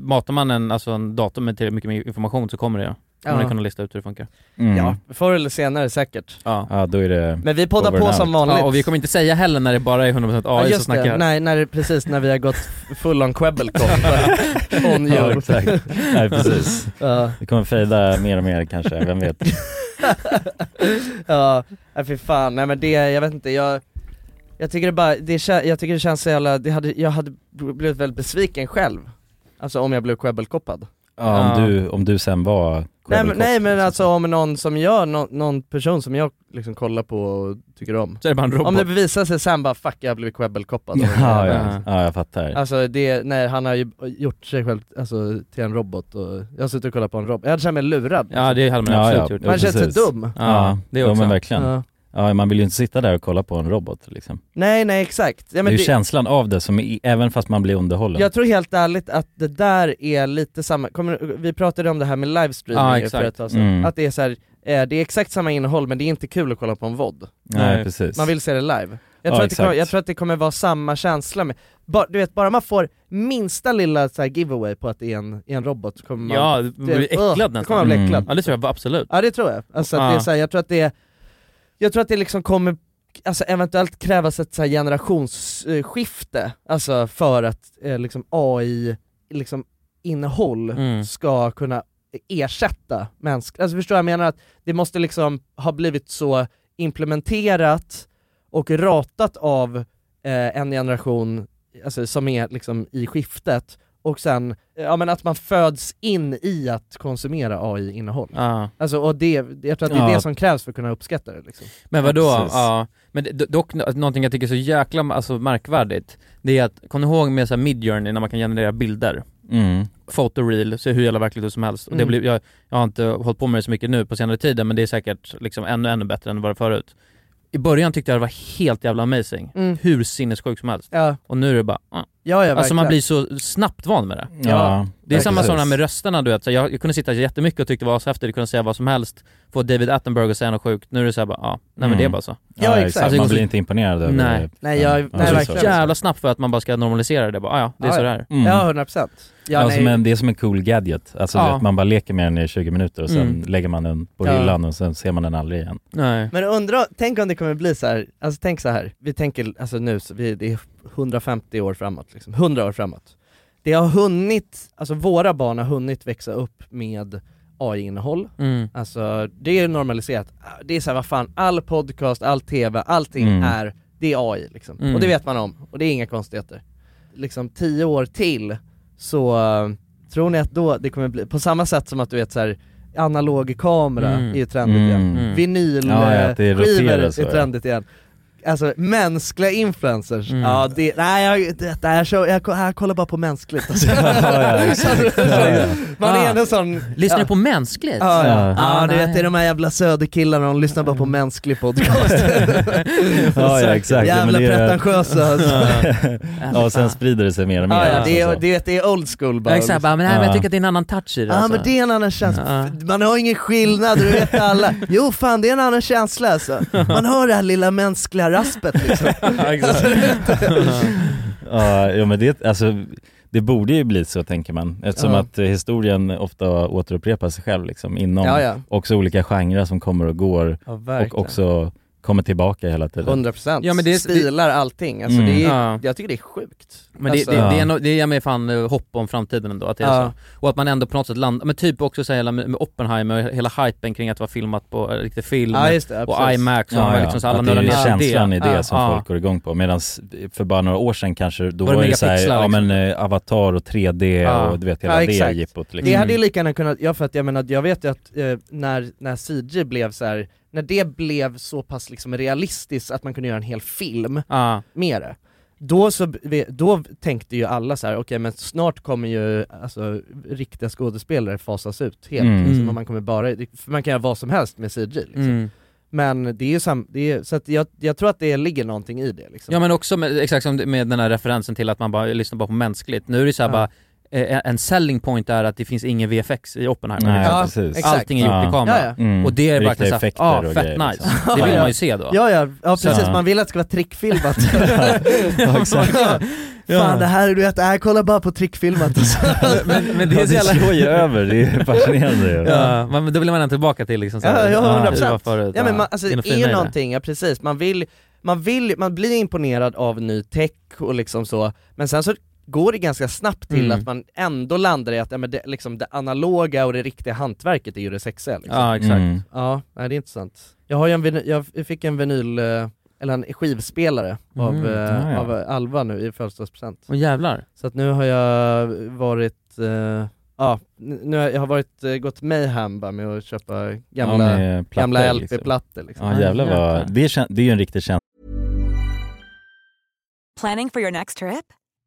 matar man en, alltså en dator med tillräckligt mycket mer information så kommer det, kommer
Ja.
det kunna lista ut hur det funkar.
Mm.
Ja, förr eller senare säkert.
Ja.
Ja, då är det
Men vi poddar
over
på
and
som
out.
vanligt.
Ja, och vi kommer inte säga heller när det bara är 100%
Ja,
AI som
just det,
snackar.
nej, när, det- precis när vi har gått full on Quebbelkop on you.
Ja, exakt. Nej, precis.
Ja.
Det kommer fejda mer och mer kanske, vem vet?
ja, nej, fy fan, nej men det, jag vet inte, jag jag tycker det bara, det, kä- jag tycker det känns så jävla, det hade, jag hade blivit väldigt besviken själv Alltså om jag blev quebbelkoppad
Ja, om, du, om du sen var liksom.
nej, men,
Quebec
nej men alltså om någon som jag, någon, någon person som jag liksom kollar på och tycker om
Så är det bara en robot.
Om det bevisar sig sen bara 'fuck jag blev quebbelkoppad'
Ja, ja. ja, jag fattar.
Alltså det, nej han har ju gjort sig själv alltså, till en robot och jag har suttit och kollat på en robot, jag hade känt mig lurad
Ja det hade man absolut gjort.
Man känns
precis.
så dum.
Ja,
Ja, det
det också. Ja,
också.
men verkligen.
Ja.
Ja. man vill ju inte sitta där och kolla på en robot liksom.
Nej nej exakt, ja,
det är
men
ju
det,
känslan av det som, är, även fast man blir underhållen.
jag tror helt ärligt att det där är lite samma, kommer, vi pratade om det här med
Ja,
livestreaming för
exakt.
ett tag sedan,
Mm.
att det är så här, eh, det är exakt samma innehåll men det är inte kul att kolla på en vod
Nej, Nej. precis.
Man vill se det live jag
Ja,
tror, att det kommer,
exakt.
jag tror att det kommer vara samma känsla med, ba, du vet bara man får minsta lilla så här giveaway på att det är en, är en robot så kommer man
Ja, man blir
Ugh, då
äcklad nästan.
kommer man bli äcklad
Ja det tror jag absolut.
Ja det tror jag. Alltså att det är
Ja.
så här, jag tror att det är, jag tror att det liksom kommer Alltså eventuellt krävas ett så här generationsskifte, alltså för att eh, liksom AI liksom innehåll
Mm.
ska kunna ersätta mänskligt. Alltså förstår jag, jag menar att det måste liksom ha blivit så implementerat och ratat av eh, en generation alltså, som är liksom i skiftet och sen, eh, ja men att man föds in i att konsumera AI-innehåll.
Ja.
Alltså och det, jag tror att det är
Ja.
det som krävs för att kunna uppskatta det liksom.
Men vadå?
Precis.
Ja, men det- dock nå- någonting jag tycker är så jäkla alltså, märkvärdigt, det är att, kom ni ihåg med så här Midjourney när man kan generera bilder?
Mm.
Photoreel, ser hur jävla verkligt ut som helst. Och det
Mm.
blir, jag, jag har inte hållit på med det så mycket nu på senare tiden men det är säkert liksom ännu, ännu bättre än vad det var förut. I början tyckte jag det var helt jävla amazing,
Mm.
hur sinnessjukt som helst.
Ja.
Och nu är det bara, ah.
Ja, ja,
Alltså man
verkligen.
blir så snabbt van med det.
Ja, Ja.
Det är samma
precis.
som det här med rösterna du vet, så jag, jag kunde sitta jättemycket och tyckte det var ashäftigt, kunde säga vad som helst, få David Attenborough att säga något sjukt, nu är det såhär bara, ja, nej men
Mm.
det är bara så.
Ja, Ja, exakt. exakt.
det
Man
går så-
blir inte imponerad över det.
Nej.
Nej, jag- nej,
det går så
verkligen.
jävla snabbt för att man bara ska normalisera det, bara, ah, ja det är
Ja,
så
ja.
det är.
Mm.
Ja, 100%. Ja,
alltså,
nej.
men det är som en cool gadget, alltså,
Ja.
du vet, man bara leker med den i 20 minuter och sen
Mm.
lägger man den på
Ja.
hyllan och sen ser man den aldrig igen.
Nej.
Men undra, tänk om det kommer bli så här. alltså tänk så här. vi tänker alltså nu, så vi, det är 150 år framåt liksom, 100 år framåt. Det har hunnit, alltså våra barn har hunnit växa upp med AI-innehåll,
Mm.
alltså det är normaliserat. Det är så här, vad fan, all podcast, all TV, allting
Mm.
är, det är AI liksom.
Mm.
Och det vet man om, och det är inga konstigheter. Liksom tio år till så eh, tror ni att då det kommer bli, på samma sätt som att du vet så här, analog kamera
Mm.
är ju trendigt
Mm.
igen.
Mm. Ja, ja, att det
Vinylskivor
roterar så,
är
ja.
trendigt igen. Alltså mänskliga influencers,
Mm.
ja det, nej jag, detta, jag, kör, jag, jag kollar bara på mänskligt alltså.
ja, exakt. Ja, ja.
Man är
Ah.
ändå sån...
Lyssnar
ja.
du på Mänskligt?
Ja, ja.
Ja.
ja
Ah,
du vet
nej.
det är de här jävla söderkillarna, de lyssnar bara på mänsklig podcast.
Ja, ja exakt. Ja, men
Jävla
det är-
pretentiösa alltså.
ja, och sen sprider det sig mer och mer.
Ja, ja, det, är,
alltså.
det, är, det är old school bara.
Ja, exakt, bara, men nej, men jag tycker att
det alltså." är en annan touch i
Ja men det är en annan känsla, man har ingen skillnad, du vet alla. Jo fan det är en annan känsla alltså. Man hör det här lilla mänskliga raspet liksom. Alltså,
ja, ja, men det, alltså, det borde ju bli så tänker man eftersom
Ja.
att eh, historien ofta återupprepar sig själv liksom, inom
Ja, ja.
också olika genrer som kommer och går
Ja, verkligen.
och också kommer tillbaka hela tiden.
100%
Ja, men det är-
stilar allting, alltså,
Mm.
det är,
Ja.
jag tycker det är sjukt.
Men det,
alltså,
det, det,
Ja.
är no, det ger mig fan eh, hopp om framtiden ändå, att det är
Ja.
så. Och att man ändå på något sätt landar, men typ också så här, hela med med Oppenheimer, och hela hypen kring att det var filmat på eh, riktig film
Ja, just det, ja,
och
precis.
IMAX och
Ja,
alla
ja.
liksom så alla
att det är
nördar
ju
ner sig
känslan i det
Ja,
som
ja.
folk går igång på. Medan för bara några år sedan kanske, då
Var
var,
det
det ju såhär,
megapixlar,
ja
liksom?
men eh, Avatar och 3D
Ja.
och du vet hela det
exakt.
jippot liksom.
Det hade ju lika gärna kunnat, ja, för att jag menar, jag vet ju att eh, när, när CG blev så här, när det blev så pass liksom realistiskt att man kunde göra en hel film
Ja.
med det, då, så, vi- då tänkte ju alla så här: okej men snart kommer ju alltså, riktiga skådespelare fasas ut helt,
Mm.
liksom,
Mm.
och man kommer bara, för man kan göra vad som helst med CG liksom.
Mm.
Men det är ju sam, det är, så att jag, jag tror att det ligger någonting i det liksom.
Ja men också med, exakt som med den här referensen till att man bara lyssnar bara på mänskligt. Nu är det så här
Ja.
bara, eh, en selling point är att det finns ingen VFX i Oppenheimer.
Nej,
till exempel.
precis. exakt.
Allting är gjort
Ja.
i kamera.
Ja,
ja. Mm.
Och det är
Riktiga
verkligen såhär,
effekter
ah,
och
fett
grejer,
nice.
liksom.
Det vill
Ja.
man ju se då.
Ja, ja, ja
Så-
precis,
Ja.
man vill att det ska vara trickfilmat.
Ja, exakt. Ja.
Fan det här, du vet, jag kollar bara på trickfilmat.
Men, men
det,
det
ja,
är så
det
jävla...
slår ju över, det är fascinerande ju.
Ja, men då vill man ändå tillbaka till liksom så
Ja,
här,
ja,
ah,
100
hur det var
procent.
förut, Ah,
Ja men man, alltså,
det
det är ju någonting, ja precis, man vill, man vill, man blir imponerad av ny tech och liksom så, men sen så går det ganska snabbt till
Mm.
att man ändå landar i att ja, men det, liksom, det analoga och det riktiga hantverket är ju det sexiga liksom.
Ja exakt.
Mm.
Ja, nej, det är intressant. Jag, har ju en vinyl, jag fick en vinyl, eh, eller en skivspelare av,
Mm,
eh,
ja, ja.
av Alva nu i födelsedagspresent.
Och jävlar.
Så att nu har jag varit, eh, ja, n- nu har jag har varit, eh, gått mayhem bara med att köpa gamla,
med plattor,
gamla
liksom.
LP-plattor liksom.
Ja jävlar vad, det är, kän- det är ju en riktig känsla.
Planning for your next trip?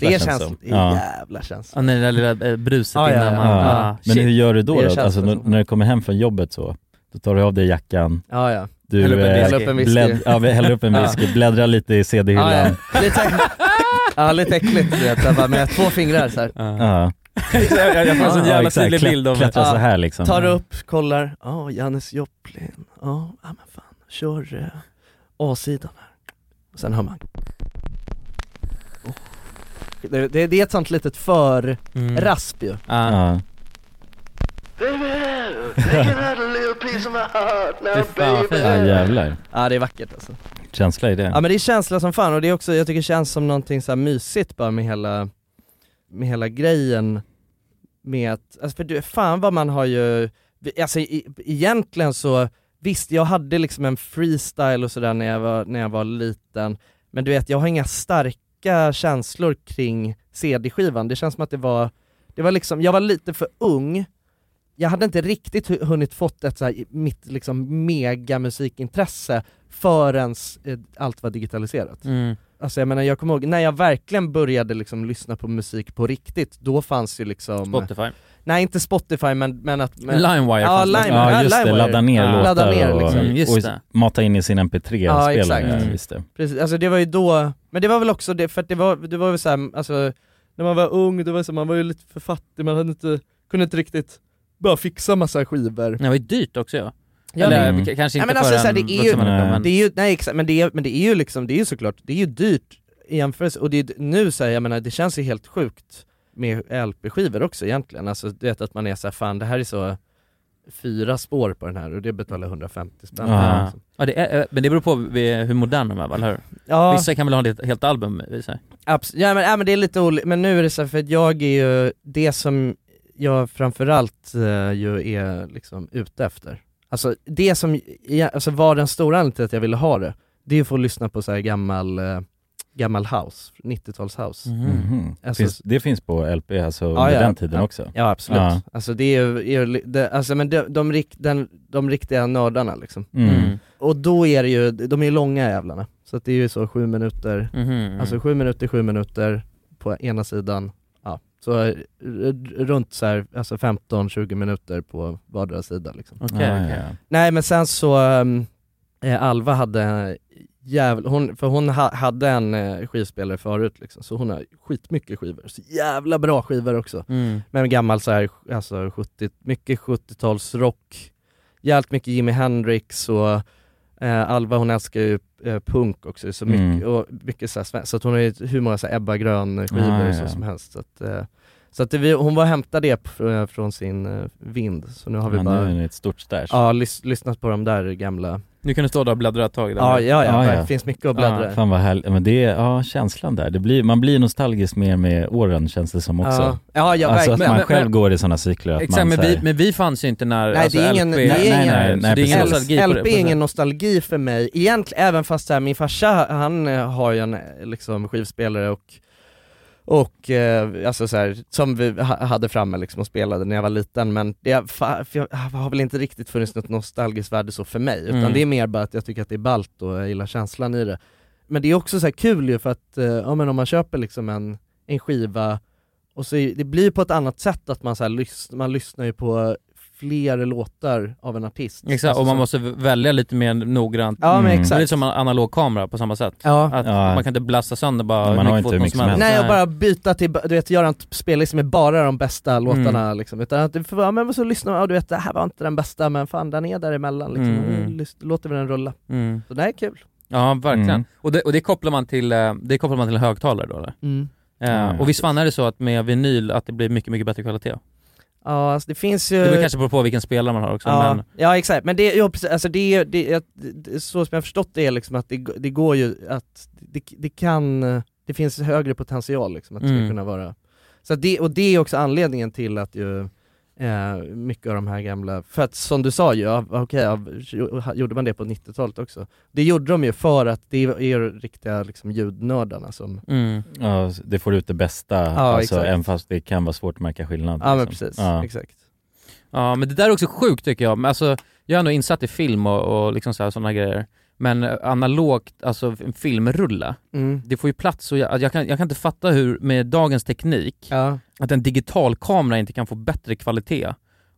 Det
känns
känns,
som.
det
Ja.
är jävla känns.
Ja, när det där lilla eh, bruset
Ja, ja,
innan
ja.
man...
Ja.
Ah,
Men
shit.
hur gör du då?
Det
då?
känns
Alltså,
det
n-
som.
när du kommer hem från jobbet så, då tar du av dig jackan,
Ja, ja.
du
Häller
Häller upp
eh,
upp en whisky.
en whisky.
blädd- ja, vi häller upp en
Ja.
whisky, bläddrar lite i CD-hyllan.
Ja, ja. Lite, ja, lite äckligt du vet, jag bara med två fingrar så här.
Ja.
jag, jag får en sån jävla
exakt.
tydlig
Klätt-
bild av
Klättra
Ja.
så här liksom.
Tar upp, kollar, ja Janis Joplin, ja ja, men fan, kör eh, A-sidan här. Och sen hör man oh. det, det, det är ett sånt litet för-rasp ju.
Ah.
Ja.
Fy fan vad
ja
fint.
jävlar,
Ja det är vackert alltså.
känsla i det.
Ja men det är känsla som fan och det är också, jag tycker det känns som någonting så här mysigt bara med hela, med hela grejen med att, alltså för du, fan vad man har ju, vi- alltså e- egentligen så, visst jag hade liksom en freestyle och sådär när jag var, när jag var liten, men du vet jag har inga starka känslor kring CD-skivan, det känns som att det var, det var liksom, jag var lite för ung, jag hade inte riktigt hu- hunnit fått ett så här, mitt liksom megamusikintresse förrän eh, allt var digitaliserat.
Mm.
Alltså jag menar, jag kommer ihåg när jag verkligen började liksom lyssna på musik på riktigt, då fanns ju liksom
Spotify.
Nej inte Spotify men, men att... Men,
Limewire
ja,
fanns det.
Lime,
Ja just det, ladda ner
Ja.
låtar
Ladda ner,
och,
liksom.
Mm, just
och
det.
mata in i sin
Ja,
mp3-spelare.
exakt.
Ja,
Mm.
just det.
Precis, alltså det var ju då, men det var väl också det, för att det var, det var ju såhär, alltså när man var ung, det var så, här, man var ju lite för fattig, man hade inte, kunde inte riktigt bara fixa massa skivor.
Det var ju dyrt också ja.
Ja,
Eller
men-
k- kanske
Nej,
inte
men alltså,
för
så här,
en
det är ju-
vuxen människa,
Nej.
men-
Det är ju, nej exakt, men det är, men det är ju liksom, det är ju såklart, det är ju dyrt i jämförelse, och det är, nu så här, jag menar det känns ju helt sjukt med LP-skivor också egentligen. Alltså du vet att man är så här, fan det här är så fyra spår på den här och det betalar 150 spänn.
Ja. Ja, det är, eh, men det beror på vi- hur moderna de är väl, eller hur?
Ja.
Vissa kan väl ha ett helt album i sig?
Abs- ja, men, ja men det är lite olika, men nu är det så här, för att jag är ju det som jag framförallt eh, ju är liksom ute efter. Alltså det som, ja, alltså var den stora anledningen till att jag ville ha det, det är att få lyssna på så här gammal, eh, gammal house, 90-tals house.
Mhm.
Alltså-
finns, det finns på LP alltså
Ja,
under
ja.
den tiden
ja,
också?
Ja absolut.
Ja.
Alltså det är ju, är ju det, alltså men de, de, rik, den, de riktiga nördarna liksom.
Mm.
Och då är det ju, de är ju långa jävlarna. Så att det är ju så sju minuter,
Mhm, mm.
alltså sju minuter, sju minuter på ena sidan, ja. Så eh, r- runt så här, alltså 15-20 minuter på vardera sida liksom.
Okej,
Ja,
okej.
ja, ja.
Nej men sen så, ehm, eh, Alva hade jävla, hon, för hon ha, hade en eh, skivspelare förut liksom, så hon har skitmycket skivor, så jävla bra skivor också.
Mm.
Men gammal så här, alltså 70, mycket 70-talsrock, jävligt mycket Jimi Hendrix och eh, Alva hon älskar ju eh, punk också, så mycket,
Mm.
och mycket så, här, sven- så att hon har ju hur många så här, Ebba Grön-skivor
Ah,
så
ja.
som helst. Så att, eh, så att det, vi, hon var och hämtade det pr- från sin eh, vind, så nu har vi
ja,
bara
Nu är det ett stort stash.
ja, lys, lyssnat på de där gamla,
Nu kan du stå där och bläddra ett tag där.
ja ja, ja,
Ah, Ja, ja.
det finns mycket att bläddra i.
Fan vad härligt, men det är, ja känslan där, det blir, man blir nostalgisk mer med åren känns det som också.
Ja, ja, ja
alltså att
verkligen.
man
men-
själv
men-
går i sådana cykler att
Exakt,
man
men
så här,
vi, men vi fanns ju inte när
Nej,
alltså,
det är ingen-
LP,
det är ingen-
nej, nej,
så det är ingen
precis.
nostalgi på det.
LP är ingen nostalgi för mig, egentligen, även fast så här, min farsa han eh, har ju en eh, liksom, skivspelare och, och eh, alltså så här, som vi ha, hade framme liksom, och spelade när jag var liten men det, fa, för jag har väl inte riktigt funnits något nostalgiskt värde så för mig utan
Mm.
det är mer bara att jag tycker att det är ballt och jag gillar känslan i det. Men det är också så här kul ju för att eh, ja, men om man köper liksom en, en skiva och så är, det blir på ett annat sätt att man, så här, lys, man lyssnar ju på fler låtar av en artist.
Exakt,
Alltså
och man
så-
måste välja lite mer noggrant.
Ja men
Mm.
Det är
exakt.
lite som en analog kamera på samma sätt.
Ja.
Att
Ja.
man kan inte blasta sönder bara
Man har
hur mycket
inte
foton
hur mycket
som
som
helst.
helst.
Nej och bara byta till, du vet göra en spellista med bara de bästa
Mm.
låtarna liksom. Utan att det får vara, men så lyssnar man, ja, du vet det här var inte den bästa men fan den är däremellan liksom.
Mm, mm.
Lys- Låter vi den rulla.
Mm.
Så det här är kul.
Ja, verkligen.
Mm.
Och, det, och det kopplar man till, eh, det kopplar man till en högtalare då eller? Eh,
Ja,
och visst fan är det så att med vinyl att det blir mycket, mycket bättre kvalitet?
Ja alltså, det finns ju...
Det beror kanske på, på vilken spelare man har också
ja,
men
ja exakt, men det, ja, precis, alltså det, är- det, är- det, så som jag har förstått det är liksom att det, g- det går ju att, det, det kan, det finns högre potential liksom att det
Mm.
ska kunna vara. Så att det, och det är också anledningen till att ju eh, mycket av de här gamla, för att som du sa ju, ja, okej, ja, gjorde man det på 90-talet också? Det gjorde de ju för att det är ju riktiga liksom, ljudnördarna som,
mm.
ja, det får ut det bästa, alltså,
exakt.
även fast det kan vara svårt att märka skillnad.
ja men
liksom.
precis,
Ja.
exakt.
Ja men det där är också sjukt tycker jag, men alltså jag är ändå insatt i film och, och liksom så här, sådana grejer. Men eh, analogt, alltså en filmrulle,
Mm.
det får ju plats och jag, jag, kan, jag kan inte fatta hur, med dagens teknik,
Ja.
att en digital kamera inte kan få bättre kvalitet.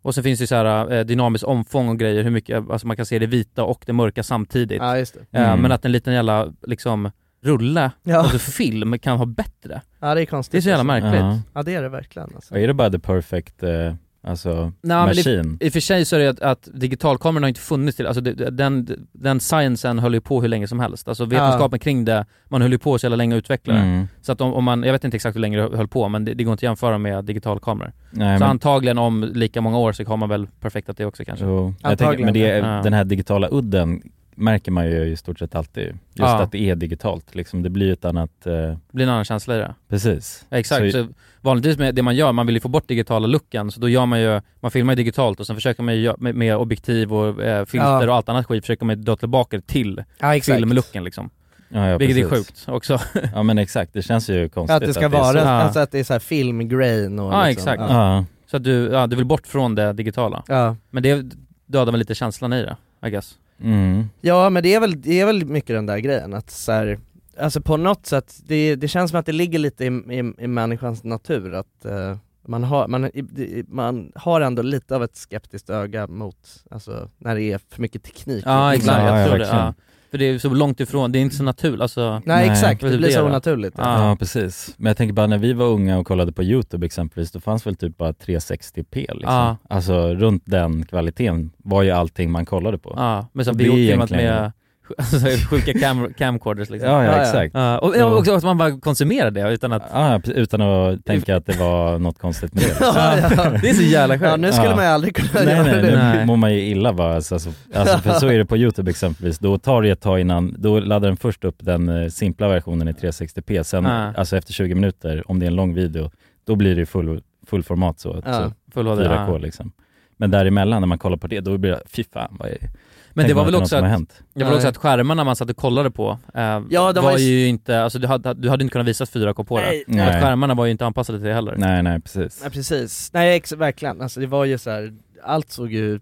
Och sen finns det ju så här eh, dynamiskt omfång och grejer, hur mycket, alltså man kan se det vita och det mörka samtidigt.
ja, just det.
Eh,
Mm.
Men att en liten jävla liksom rulle,
Ja.
alltså film, kan ha bättre.
ja det är konstigt.
Det är så jävla
alltså.
märkligt.
Ja.
Ja det är det verkligen alltså.
Och är det bara the perfect, eh, alltså,
Nej, men det-
machine?
I och för sig så är det att, att digitalkameran har inte funnits till, alltså det- det- den, den sciencen höll ju på hur länge som helst. Alltså vetenskapen kring det, man höll ju på så jävla länge att utveckla det.
Mm.
Så att om, om man, jag vet inte exakt hur länge det höll på men det, det går inte att jämföra med digitalkameror.
Nej,
Så
men,
antagligen om lika många år så har man väl perfektat det också kanske.
jo, jag tänker, men det,
Antagligen, ja.
den här digitala udden märker man ju i stort sett alltid. Just
Ja.
att det är digitalt liksom, det blir ett annat, eh,
Det blir en annan känsla i det.
precis.
Ja, Exakt, så, vanligtvis med det man gör, man vill ju få bort digitala luckan så då gör man ju, man filmar ju digitalt och sen försöker man ju gö- med, med objektiv och eh, filter
Ja.
och allt annat skit försöker man ju dra tillbaka det till
Ja, exakt.
filmlucken liksom.
ja, ja,
Vilket är
precis.
sjukt också.
Ja men exakt, det känns ju
För
konstigt
att det ska
är
vara,
så.
alltså att det är så här filmgrain och
Ja,
liksom.
exakt.
Ja.
Ja.
så att du, ja, du vill bort från det digitala.
Ja.
Men det dödar väl lite känslan i det, I guess.
Mm.
ja men det är, väl, det är väl mycket den där grejen att så här, alltså på något sätt, det, det känns som att det ligger lite i, i, i människans natur att eh, man, har, man, i- i- man har ändå lite av ett skeptiskt öga mot, alltså när det är för mycket teknik. Mm.
Ja exakt,
Ja,
jag
ja,
tror det.
verkligen.
Ja. För det är ju så långt ifrån, det är inte så naturligt, alltså
Nej,
Nej,
exakt, det
precis,
blir
det
så
är det.
onaturligt.
Ja.
Ja. precis. Men jag tänker bara när vi var unga och kollade på YouTube exempelvis, då fanns väl typ bara 360p liksom.
Ja.
Alltså runt den kvaliteten var ju allting man kollade på.
Ja, men så
Och det är
videofilmat
egentligen-
med alltså, så här sjuka cam camcorders liksom.
Ja, ja, exakt.
Ja, och, och också att man bara konsumerar det utan att...
Ja, utan att tänka att det var något konstigt med det.
Ja, ja.
Det är så jävla skönt.
Ja, nu skulle man ju aldrig kunna
nej,
göra
nej,
det.
nu mår man ju illa bara. Alltså, alltså, alltså, för så är det på YouTube exempelvis. Då tar det ett tag innan, då laddar den först upp den eh, simpla versionen i 360p. Sen,
Ja.
alltså efter 20 minuter, om det är en lång video, då blir det ju full, full format så.
Ja,
så
full HD,
4K
ja.
liksom. Men däremellan när man kollar på det, då blir det, fy fan vad är
Men
Tänk
det var
om
väl
något
också
som har
att,
hänt.
det var väl också
Nej.
att skärmarna man satt och kollade på eh,
Ja,
var,
de var ju-
ju inte, alltså du hade, du hade inte kunnat visa 4K på det.
Nej.
Och att
Nej.
skärmarna var ju inte anpassade till det heller.
Nej, nej precis.
Nej precis, nej ex- verkligen, alltså det var ju så här, allt såg ju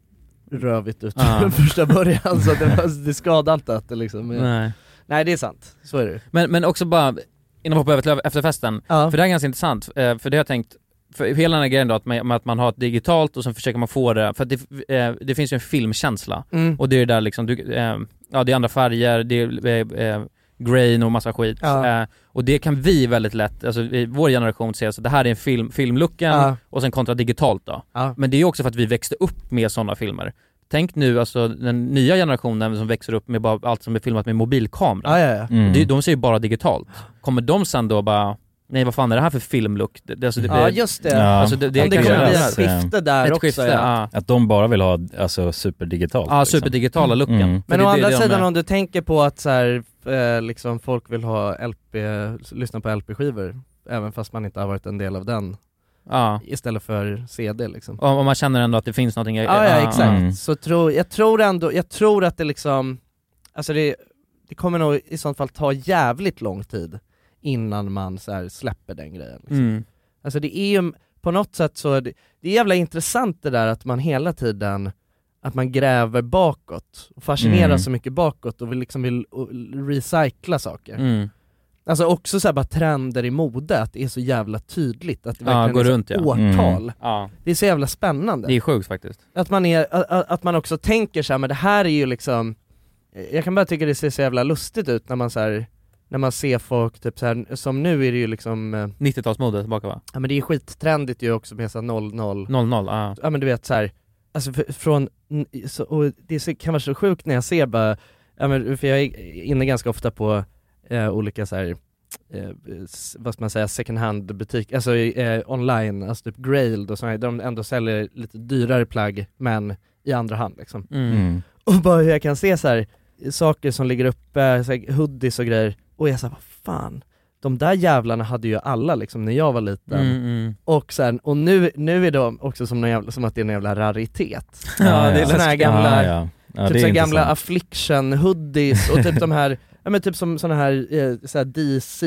rövigt ut
Ja.
från första början så att det, var, det skadade inte att det liksom
Nej.
nej det är sant, så är det ju.
Men, men också bara, innan vi hoppar över till efterfesten, för det här är ganska intressant, eh, för det har jag tänkt, för hela den här grejen då att man, med att man har ett digitalt och sen försöker man få det, för att det, eh, det finns ju en filmkänsla
Mm.
och det är ju där liksom, du, eh, ja det är andra färger, det är eh, eh, grain och massa skit.
Ja.
Eh, och det kan vi väldigt lätt, alltså i vår generation ser så att det här är en film, filmluckan
Ja.
och sen kontra digitalt då.
Ja.
Men det är ju också för att vi växte upp med sådana filmer. Tänk nu alltså den nya generationen som växer upp med bara allt som är filmat med mobilkamera.
Ja, ja, ja. Mm.
Det, de ser ju bara digitalt. Kommer de sen då bara, nej vad fan är det här för filmlook? Det, det, alltså, det,
Ja just det,
Ja.
Alltså, det, det,
Om det
kan
kommer
göras.
bli
eh,
ett skifte där
Ett
också
skifte,
ja.
ja.
Att de bara vill ha alltså, superdigitalt.
Ja, superdigitala looken.
Liksom. Mm.
Men
det
å
är
andra
det de
sidan
är.
om du tänker på att så här, eh, liksom folk vill ha LP, lyssna på LP-skivor även fast man inte har varit en del av den
Ja.
istället för CD liksom
Om, om man känner ändå att det finns någonting.
Ja, ja exakt.
Mm.
Så tro, jag tror ändå, jag tror att det liksom, alltså det, det kommer nog i sånt fall ta jävligt lång tid innan man så här släpper den grejen. Liksom.
Mm.
Alltså det är ju, på något sätt så, är det, det är jävla intressant det där att man hela tiden, att man gräver bakåt, och fascineras
Mm.
så mycket bakåt och vill liksom vill och, recycla saker.
Mm.
Alltså också så här bara trender i mode, att det är så jävla tydligt att det
Ja,
verkligen
går
är så
runt, ja.
årtal.
Mm. Ja.
Det är så jävla spännande.
Det är sjukt faktiskt.
Att man, är, a- a- att man också tänker så här, men det här är ju liksom Jag kan bara tycka det ser så jävla lustigt ut när man så här, När man ser folk typ så här, som nu är det ju liksom eh,
90-talsmode tillbaka va?
Ja men det är skittrendigt ju också med så här 00
00, ja.
Ja men du vet så här, Alltså för, från, n- så, och det är så, kan vara så sjukt när jag ser bara Ja men för jag är inne ganska ofta på eh, olika så här eh, s- vad ska man säga, second hand butik, alltså eh, online, alltså typ Grailed och sådana här, där de ändå säljer lite dyrare plagg men i andra hand liksom.
Mm.
Och bara hur jag kan se så här saker som ligger uppe, så här, hoodies och grejer, och jag såhär, vad fan, de där jävlarna hade ju alla liksom när jag var liten.
Mm, mm.
Och, sen, och nu, nu är de också som, någon jävla, som att det är en jävla raritet.
Ja, ja.
Såna här gamla,
Ja, ja. Ja, det
typ
är
så här gamla
intressant.
affliction hoodies och typ de här, ja men typ som såna här, eh, så här DC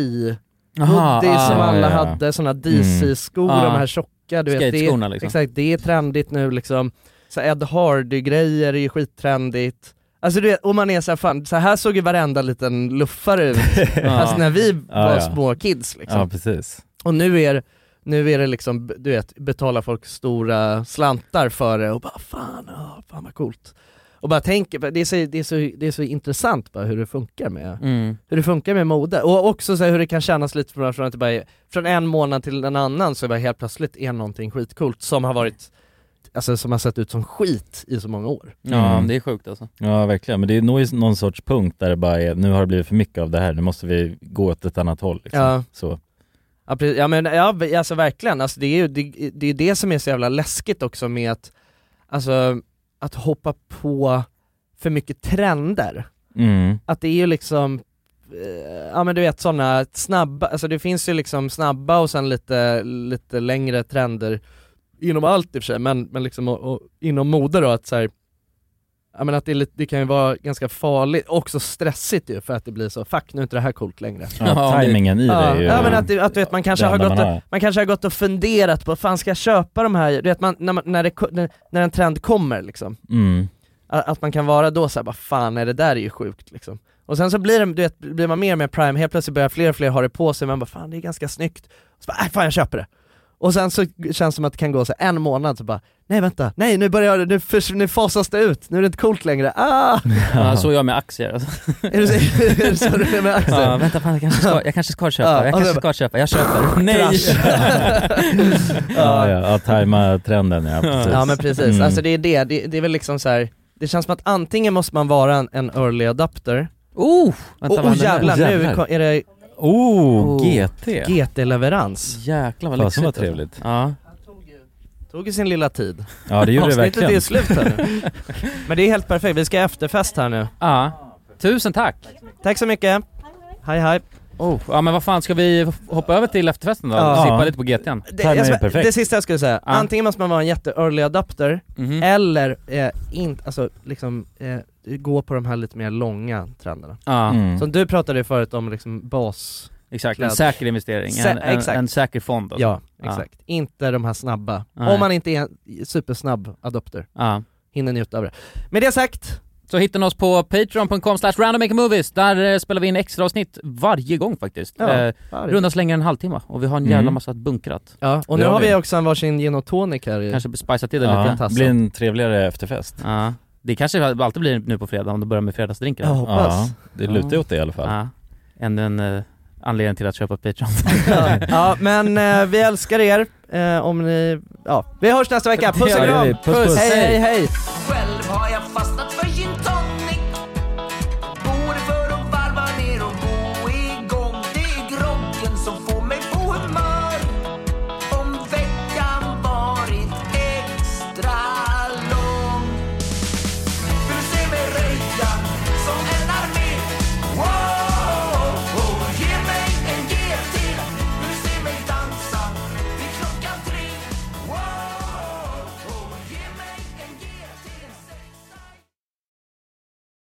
Aha,
hoodies
ah,
som
ja,
alla
ja.
hade, såna DC-skor,
Mm.
de
Ah.
här tjocka du vet. Det
Skateskorna,
är,
liksom.
Exakt, det är trendigt nu liksom. Så här Ed Hardy-grejer är ju skittrendigt. Alltså du vet, och man är såhär, fan så här såg ju varenda liten luffare ut, alltså när vi
Ja,
var
ja.
små kids liksom.
Ja, precis.
Och nu är, nu är det liksom, du vet, betalar folk stora slantar för det och bara fan, oh, fan vad coolt. Och bara tänker, på- det är så, det är så, det är så intressant bara hur det funkar med,
Mm.
hur det funkar med mode. Och också så här, hur det kan kännas lite från, från, att det bara är, från en månad till en annan så bara helt plötsligt är någonting skitcoolt som har varit, alltså som har sett ut som skit i så många år.
Mm.
Ja, det är sjukt alltså.
Ja verkligen, men det når ju någon sorts punkt där det bara är, nu har det blivit för mycket av det här, nu måste vi gå åt ett annat håll liksom.
Ja.
Så.
Ja, precis. ja men ja, v- alltså verkligen, alltså, det är ju det, det, är det som är så jävla läskigt också med att, alltså, att hoppa på för mycket trender.
Mm.
Att det är ju liksom, eh, ja men du vet sådana snabba, alltså det finns ju liksom snabba och sen lite, lite längre trender inom allt i och för sig, men, men liksom och, och, inom mode då att så här, Ja men att det, är lite, det kan ju vara ganska farligt, också stressigt ju för att det blir så, fuck nu är inte det här coolt längre
Ja, tajmingen i det
ja,
är ju...
ja men att, det- att du vet, man kanske
det
har
enda
gått
man
och,
har.
man kanske har gått och funderat på, fan ska jag köpa de här, du vet man, när, man, när, det, ko- när, när en trend kommer liksom
Mm.
att, att man kan vara då såhär, bara fan nej, det där är ju sjukt liksom Och sen så blir, det, du vet, blir man mer och mer prime, helt plötsligt börjar fler och fler ha det på sig, man bara fan det är ganska snyggt och så bara, "Äh, fan jag köper det och sen så känns det som att det kan gå så här en månad så bara, nej vänta, nej nu börjar det, nu, förs- nu fasas det ut, nu är det inte coolt längre, ah!
Ja, så gör jag med aktier alltså.
Är det så- är det så du är med aktier?
Ja, vänta fan jag kanske ska, jag kanske ska köpa,
Ja, alltså-
jag
och
kanske
så-
ska köpa, jag köper. Nej!
ja, ja, att tajma trenden ja, precis.
Ja men precis,
Mm.
alltså det är det, det, det är väl liksom så här. Det känns som att antingen måste man vara en, en early adapter
Oh!
Vänta, och, och jävlar, nu kom- är det
Oh, GT!
GT-leverans.
Jäklar vad
Fasen,
lyxigt. alltså.
vad trevligt.
Ja.
Tog ju sin lilla tid.
Ja, det gjorde det
Avsnittet
verkligen.
är slut här nu. Men det är helt perfekt, vi ska ha efterfest här nu.
Ja. Tusen tack!
Tack så mycket. Hej hej.
Oh, ja men vad fan, ska vi hoppa över till efterfesten då?
Ja.
Och sippa
Ja.
lite på GT'n?
Det, jag ska- det sista jag skulle säga, antingen måste man vara en jätte-early adapter,
Mm-hmm. Mm.
eller eh, inte, alltså liksom, eh, gå på de här lite mer långa trenderna.
Ja. Mm.
Som du pratade ju förut om liksom bas...
Exakt, en
kläder.
säker investering.
Sä-
en, en,
exakt.
en säker fond alltså.
Ja, exakt. Inte de här snabba.
Nej.
Om man inte är en supersnabb adopter.
Ja.
Hinner njuta av det. Med det sagt,
Så hittar ni oss på patreon.com slash randommakermovies, där eh, spelar vi in extra avsnitt varje gång faktiskt.
Ja,
eh,
varje.
runda slänger en halvtimme och vi har en jävla
Mm.
massa bunkrat.
Ja, och nu
Det har
har
vi.
vi också en varsin gin och tonic här i...
Kanske spicea till det
Ja,
lite.
det blir en trevligare efterfest.
Ja. Det kanske alltid blir nu på fredag om du börjar med fredagsdrinken.
Jag hoppas.
Ja, det lutar ju åt det i alla fall.
Ja. Ännu en eh, anledning till att köpa Patreon.
Ja, ja men eh, vi älskar er, eh, om ni, ja, vi hörs nästa vecka, puss och
Ja, det gör
kram!
vi. Puss, puss.
Hej hej hej!